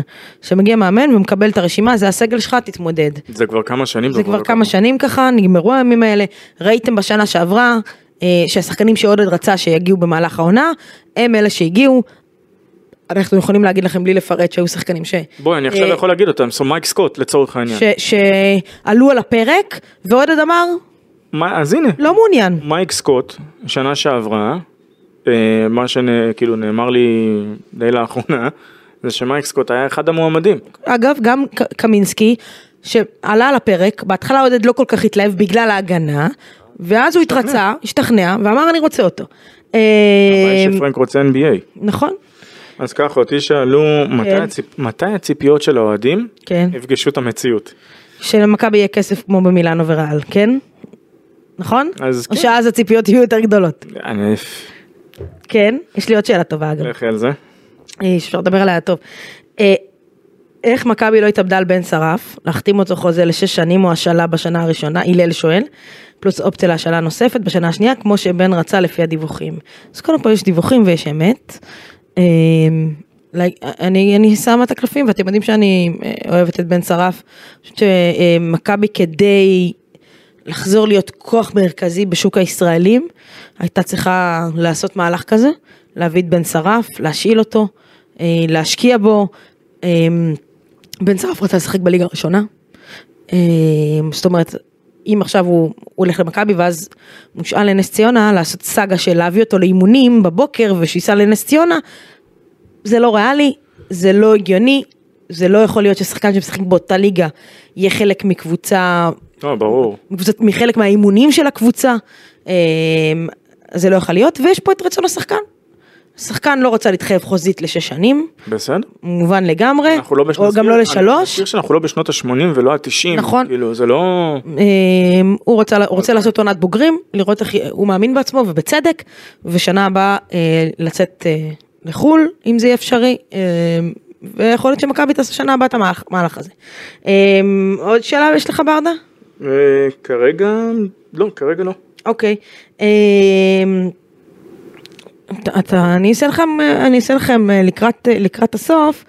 S2: שמגיע מאמן ומקבל את הרשימה, זה הסגל שלך, תתמודד.
S3: זה כבר כמה שנים. לא
S2: זה כבר כמה שנים ככה, נגמרו הימים האלה, ראיתם בשנה שעברה אה, שהשחקנים שעודד רצה שיגיעו במהלך העונה, הם אלה שהגיעו. אנחנו יכולים להגיד לכם בלי לפרט שהיו שחקנים ש...
S3: בואי, אני עכשיו
S2: אה,
S3: יכול להגיד אותם. סו מייק סקוט לצורך העניין.
S2: ש... שעלו על הפרק, ועודד אמר,
S3: מה- אז הנה,
S2: לא מעוניין.
S3: מייק סקוט, שנה שעברה, אה, מה שכאילו נאמר לי די לאחרונה, זה שמייק סקוט היה אחד המועמדים.
S2: אגב, גם ק- קמינסקי, שעלה על הפרק, בהתחלה עודד לא כל כך התלהב בגלל ההגנה, ואז הוא התרצה, השתכנע, ואמר אני רוצה אותו. אה,
S3: הבעיה שפרנק רוצה NBA.
S2: נכון,
S3: אז ככה, אותי שאלו מתי
S2: כן.
S3: הציפ- מתי הציפיות של האוהדים
S2: כן.
S3: יפגשו את המציאות.
S2: שלמכבי יהיה כסף כמו במילאנו וריאל, כן? נכון?
S3: אז
S2: או
S3: כן.
S2: שאז הציפיות יהיו יותר גדולות.
S3: אני
S2: כן? יש לי עוד שאלה טובה אגב,
S3: אלך על זה.
S2: אה, שאפשר לדבר עליה טוב. אה, איך מכבי לא התאבדה על בן שרף, להחתים אותו חוזה לשש שנים או השאלה בשנה הראשונה, הלל שואל, פלוס אופציה להשאלה נוספת בשנה השנייה, כמו שבן רצה לפי הדיווחים. אז קודם כל יש דיווחים ויש אמת. אה, like, אני, אני שמה את הקלפים ואתם יודעים שאני אה, אוהבת את בן שרף. אני חושבת שמכבי כדי לחזור להיות כוח מרכזי בשוק הישראלים, הייתה צריכה לעשות מהלך כזה, להביא את בן שרף, להשאיל אותו, אה, להשקיע בו. אה, בן שרף רצה לשחק בליגה הראשונה, אה, זאת אומרת, אם עכשיו הוא הוא הולך למכבי ואז מושאל לנס ציונה לעשות סאגה של להביא אותו לאימונים בבוקר ושייסע לנס ציונה, זה לא ריאלי, זה לא הגיוני, זה לא יכול להיות ששחקן שמשחק באותה ליגה יהיה חלק מקבוצה
S3: לא, ברור.
S2: קבוצת, מחלק מהאימונים של הקבוצה, אמ, זה לא יכול להיות, ויש פה את רצון השחקן. השחקן לא רוצה להתחייב חוזית לשש שנים,
S3: בסדר?
S2: מובן לגמרי,
S3: אנחנו לא בשנות...
S2: או גם לא
S3: אני
S2: לשלוש,
S3: מזכיר שאנחנו לא בשנות ה-80 ולא ה-90.
S2: נכון.
S3: כאילו, זה לא...
S2: אמ, הוא רוצה, הוא רוצה לעשות עונת בוגרים, לראות איך הוא מאמין בעצמו ובצדק, ושנה הבאה אה, לצאת אה, לחו"ל, אם זה יהיה אפשרי, אה, ויכול להיות שמכבי תעשה שנה הבאה את המהלך המהלך הזה. אה, עוד שאלה יש לך ברדה?
S3: אה, כרגע... לא, כרגע לא.
S2: אוקיי. אמ, אתה- אתה, אני אעשה לכם, אני אעשה לכם אה, לקראת, אה, לקראת הסוף.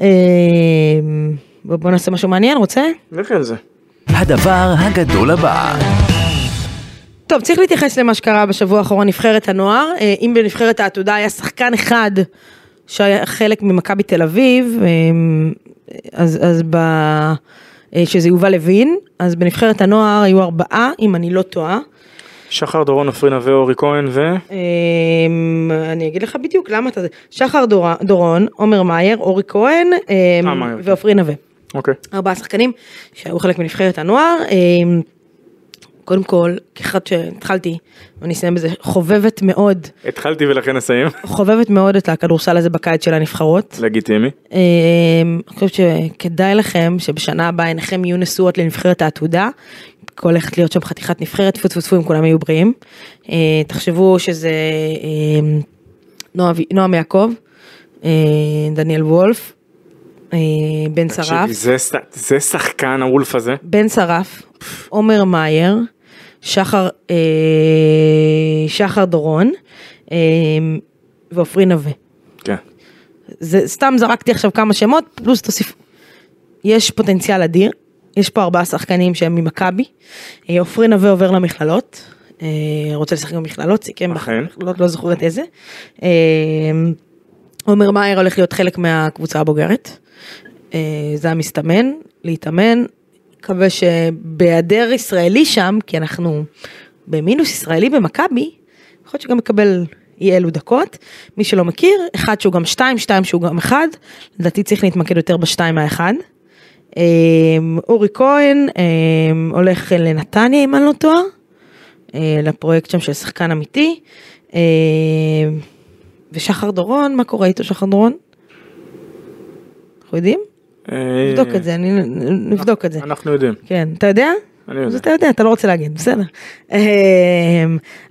S2: אמ, בוא בוא נעשה משהו מעניין, רוצה?
S3: לך על זה.
S1: הדבר הגדול הבא,
S2: טוב, צריך להתייחס למה שקרה בשבוע האחרון, נבחרת הנוער. אה, אם בנבחרת העתודה היה שחקן אחד שהיה חלק ממכבי תל אביב, אמ, אז, אז ב... אה, שזה יובל לוין, אז בנבחרת הנוער היו ארבעה, אם אני לא טועה.
S3: שחר דורון, עפרינה ואורי כהן ו...
S2: אמ, אני אגיד לך בדיוק למה אתה זה. שחר דור- דורון, עומר מאייר, אורי כהן אמ,
S3: אה, מאייר, כן.
S2: ועופרי נווה.
S3: אוקיי.
S2: ארבעה שחקנים שהיו חלק מנבחרת הנוער. אמ, קודם כל, כאחד שהתחלתי, ואני אסיים בזה, חובבת מאוד,
S3: התחלתי ולכן אסיים.
S2: חובבת מאוד את הכדורסל הזה בקיץ של הנבחרות.
S3: לגיטימי.
S2: אמ, אני חושבת שכדאי לכם שבשנה הבאה עיניכם יהיו נשואות לנבחרת העתודה. כל הולכת להיות שם חתיכת נבחרת, טפו טפו טפו אם כולם יהיו בריאים. אה, תחשבו שזה אמ, נועה ו- נועם יעקב, אה, דניאל וולף, אה, בן שרף,
S3: תקשיבי, זה ש- זה שחקן הוולף הזה.
S2: בן שרף, עומר מאייר, שחר, אה, שחר דורון אה, ועופרי נווה.
S3: כן.
S2: זה סתם זרקתי עכשיו כמה שמות, פלוס תוסיף. יש פוטנציאל אדיר, יש פה ארבעה שחקנים שהם ממכבי. אה, עופרי נווה עובר למכללות, אה, רוצה לשחק במכללות, סיכם
S3: אכן.
S2: במכללות, לא זוכרת איזה. אה, עומר מאייר הולך להיות חלק מהקבוצה הבוגרת. אה, זה המסתמן, להתאמן. מקווה שבהיעדר ישראלי שם, כי אנחנו במינוס ישראלי במכבי, יכול להיות שגם מקבל אי אלו דקות. מי שלא מכיר, אחד שהוא גם שתיים, שתיים שהוא גם אחד, לדעתי צריך להתמקד יותר בשתיים האחד. אה, אורי כהן אה, הולך לנתניה, אם אני לא טועה, אה, לפרויקט שם של שחקן אמיתי. אה, ושחר דורון, מה קורה איתו שחר דורון? אנחנו יודעים?
S3: אה,
S2: נבדוק את זה, אני נבדוק את זה.
S3: אנחנו יודעים.
S2: כן, אתה יודע?
S3: אני יודע.
S2: אז אתה יודע, אתה לא רוצה להגיד, בסדר. אמ,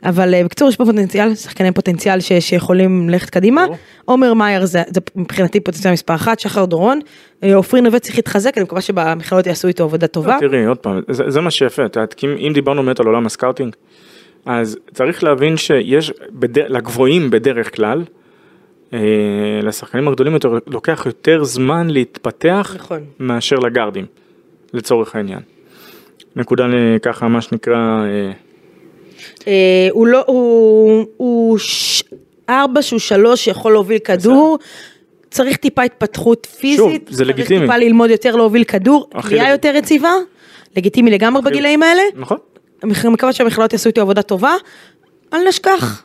S2: אבל אה, בקיצור, יש פה פוטנציאל, שחקני פוטנציאל ש- שיכולים ללכת קדימה.
S3: ברור.
S2: עומר מאייר זה זה מבחינתי פוטנציאל מספר אחת, שחר דורון. אה, עופרי נווה צריך להתחזק, אני מקווה שבמכללות יעשו איתו עבודה טובה.
S3: לא, תראי, עוד פעם, זה, זה מה שיפה, את יודעת, כי אם, אם דיברנו באמת על עולם הסקאוטינג, אז צריך להבין שיש, בד... לגבוהים בדרך כלל, אה, לשחקנים הגדולים יותר, לוקח יותר זמן להתפתח
S2: נכון.
S3: מאשר לגארדים, לצורך העניין. נקודה ל- ככה, מה שנקרא, אה,
S2: אה, הוא לא, הוא- הוא ש- ארבע שהוא שלוש שיכול להוביל כדור. צריך טיפה התפתחות פיזית,
S3: זה
S2: צריך
S3: לגיטימי.
S2: טיפה ללמוד יותר להוביל כדור,
S3: הכי
S2: קליעה
S3: לג-
S2: יותר יציבה, לגיטימי לגמרי
S3: הכי-
S2: בגילאים האלה.
S3: נכון?
S2: אני מקווה שהמכללות יעשו איתו עבודה טובה, אל נשכח.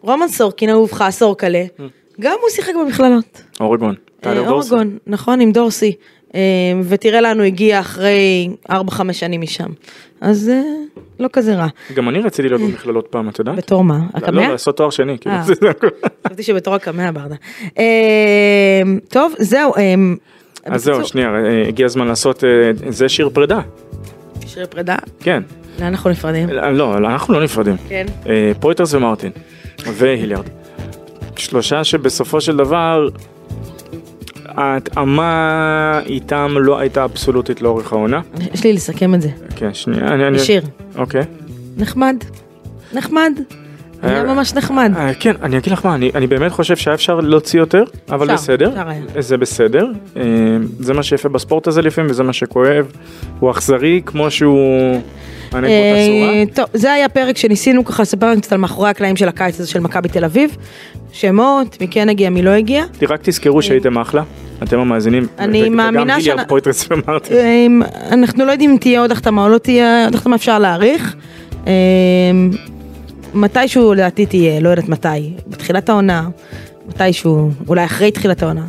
S2: רומן סורקין אהובך, סורקלה,
S3: אה.
S2: גם הוא שיחק במכללות.
S3: אורגון.
S2: אה,
S3: טלר דורסון.
S2: אורגון, נכון, עם דורסי. אה, ותראה לאן הוא הגיע אחרי 4-5 שנים משם. אז אה, לא כזה רע.
S3: גם אני רציתי להיות במכללות פעם, את יודעת?
S2: בתור מה?
S3: לא,
S2: הקמע?
S3: לעשות תואר שני, כאילו,
S2: אה.
S3: זה זה הכל.
S2: חשבתי שבתור הקמע ברדה. אה, טוב, זהו. אה,
S3: אז זהו,
S2: בקיצור,
S3: שנייה, אה, הגיע הזמן לעשות, אה, זה שיר פרידה,
S2: שיר פרידה,
S3: כן.
S2: לאן אנחנו נפרדים?
S3: אה, לא, אנחנו לא נפרדים.
S2: כן.
S3: אה, פויטרס ומרטין והיליארד. שלושה שבסופו של דבר ההתאמה איתם לא הייתה אבסולוטית לאורך העונה.
S2: יש לי לסכם את זה.
S3: כן, שנייה, אני... אני-
S2: לשיר.
S3: אוקיי.
S2: נחמד. נחמד. היה ממש נחמד.
S3: אה, כן, אני אגיד לך מה, אני, אני באמת חושב שהיה אפשר להוציא יותר, אבל
S2: אפשר,
S3: בסדר,
S2: אפשר היה.
S3: זה בסדר, אה, זה מה שיפה בספורט הזה לפעמים וזה מה שכואב, הוא אכזרי כמו שהוא אנקדוטה אסורה.
S2: אה, טוב, זה היה פרק שניסינו ככה לספר לכם קצת על מאחורי הקלעים של הקיץ הזה של מכבי תל אביב. שמות, מי כן הגיע, מי לא הגיע.
S3: רק תזכרו שהייתם אחלה, אתם המאזינים,
S2: אני
S3: ו- ו-
S2: מאמינה
S3: וגם
S2: שאנ-
S3: גיליארד פויטרס ומרטין.
S2: אמ, אנחנו לא יודעים אם תהיה עוד החתמה או לא תהיה עוד החתמה, אפשר להעריך. אמ, מתישהו לדעתי תהיה, לא יודעת מתי, בתחילת העונה, מתישהו, אולי אחרי תחילת העונה,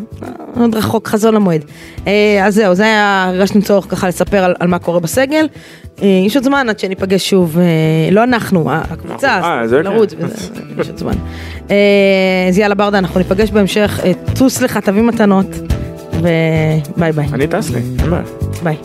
S2: עוד רחוק חזון למועד. אה, אז זהו, זה היה, הרגשנו צורך ככה לספר על, על מה קורה בסגל. אה, יש עוד זמן עד שניפגש שוב, אה, לא אנחנו, ה- הקבוצה,
S3: אה,
S2: אז
S3: זה
S2: נרוץ,
S3: כן.
S2: וזה, יש עוד זמן. אה, אז יאללה ברדה, אנחנו ניפגש בהמשך, אה, טוס לך, תביא מתנות, וביי ביי.
S3: אני טס לי, אין בעיה.
S2: ביי.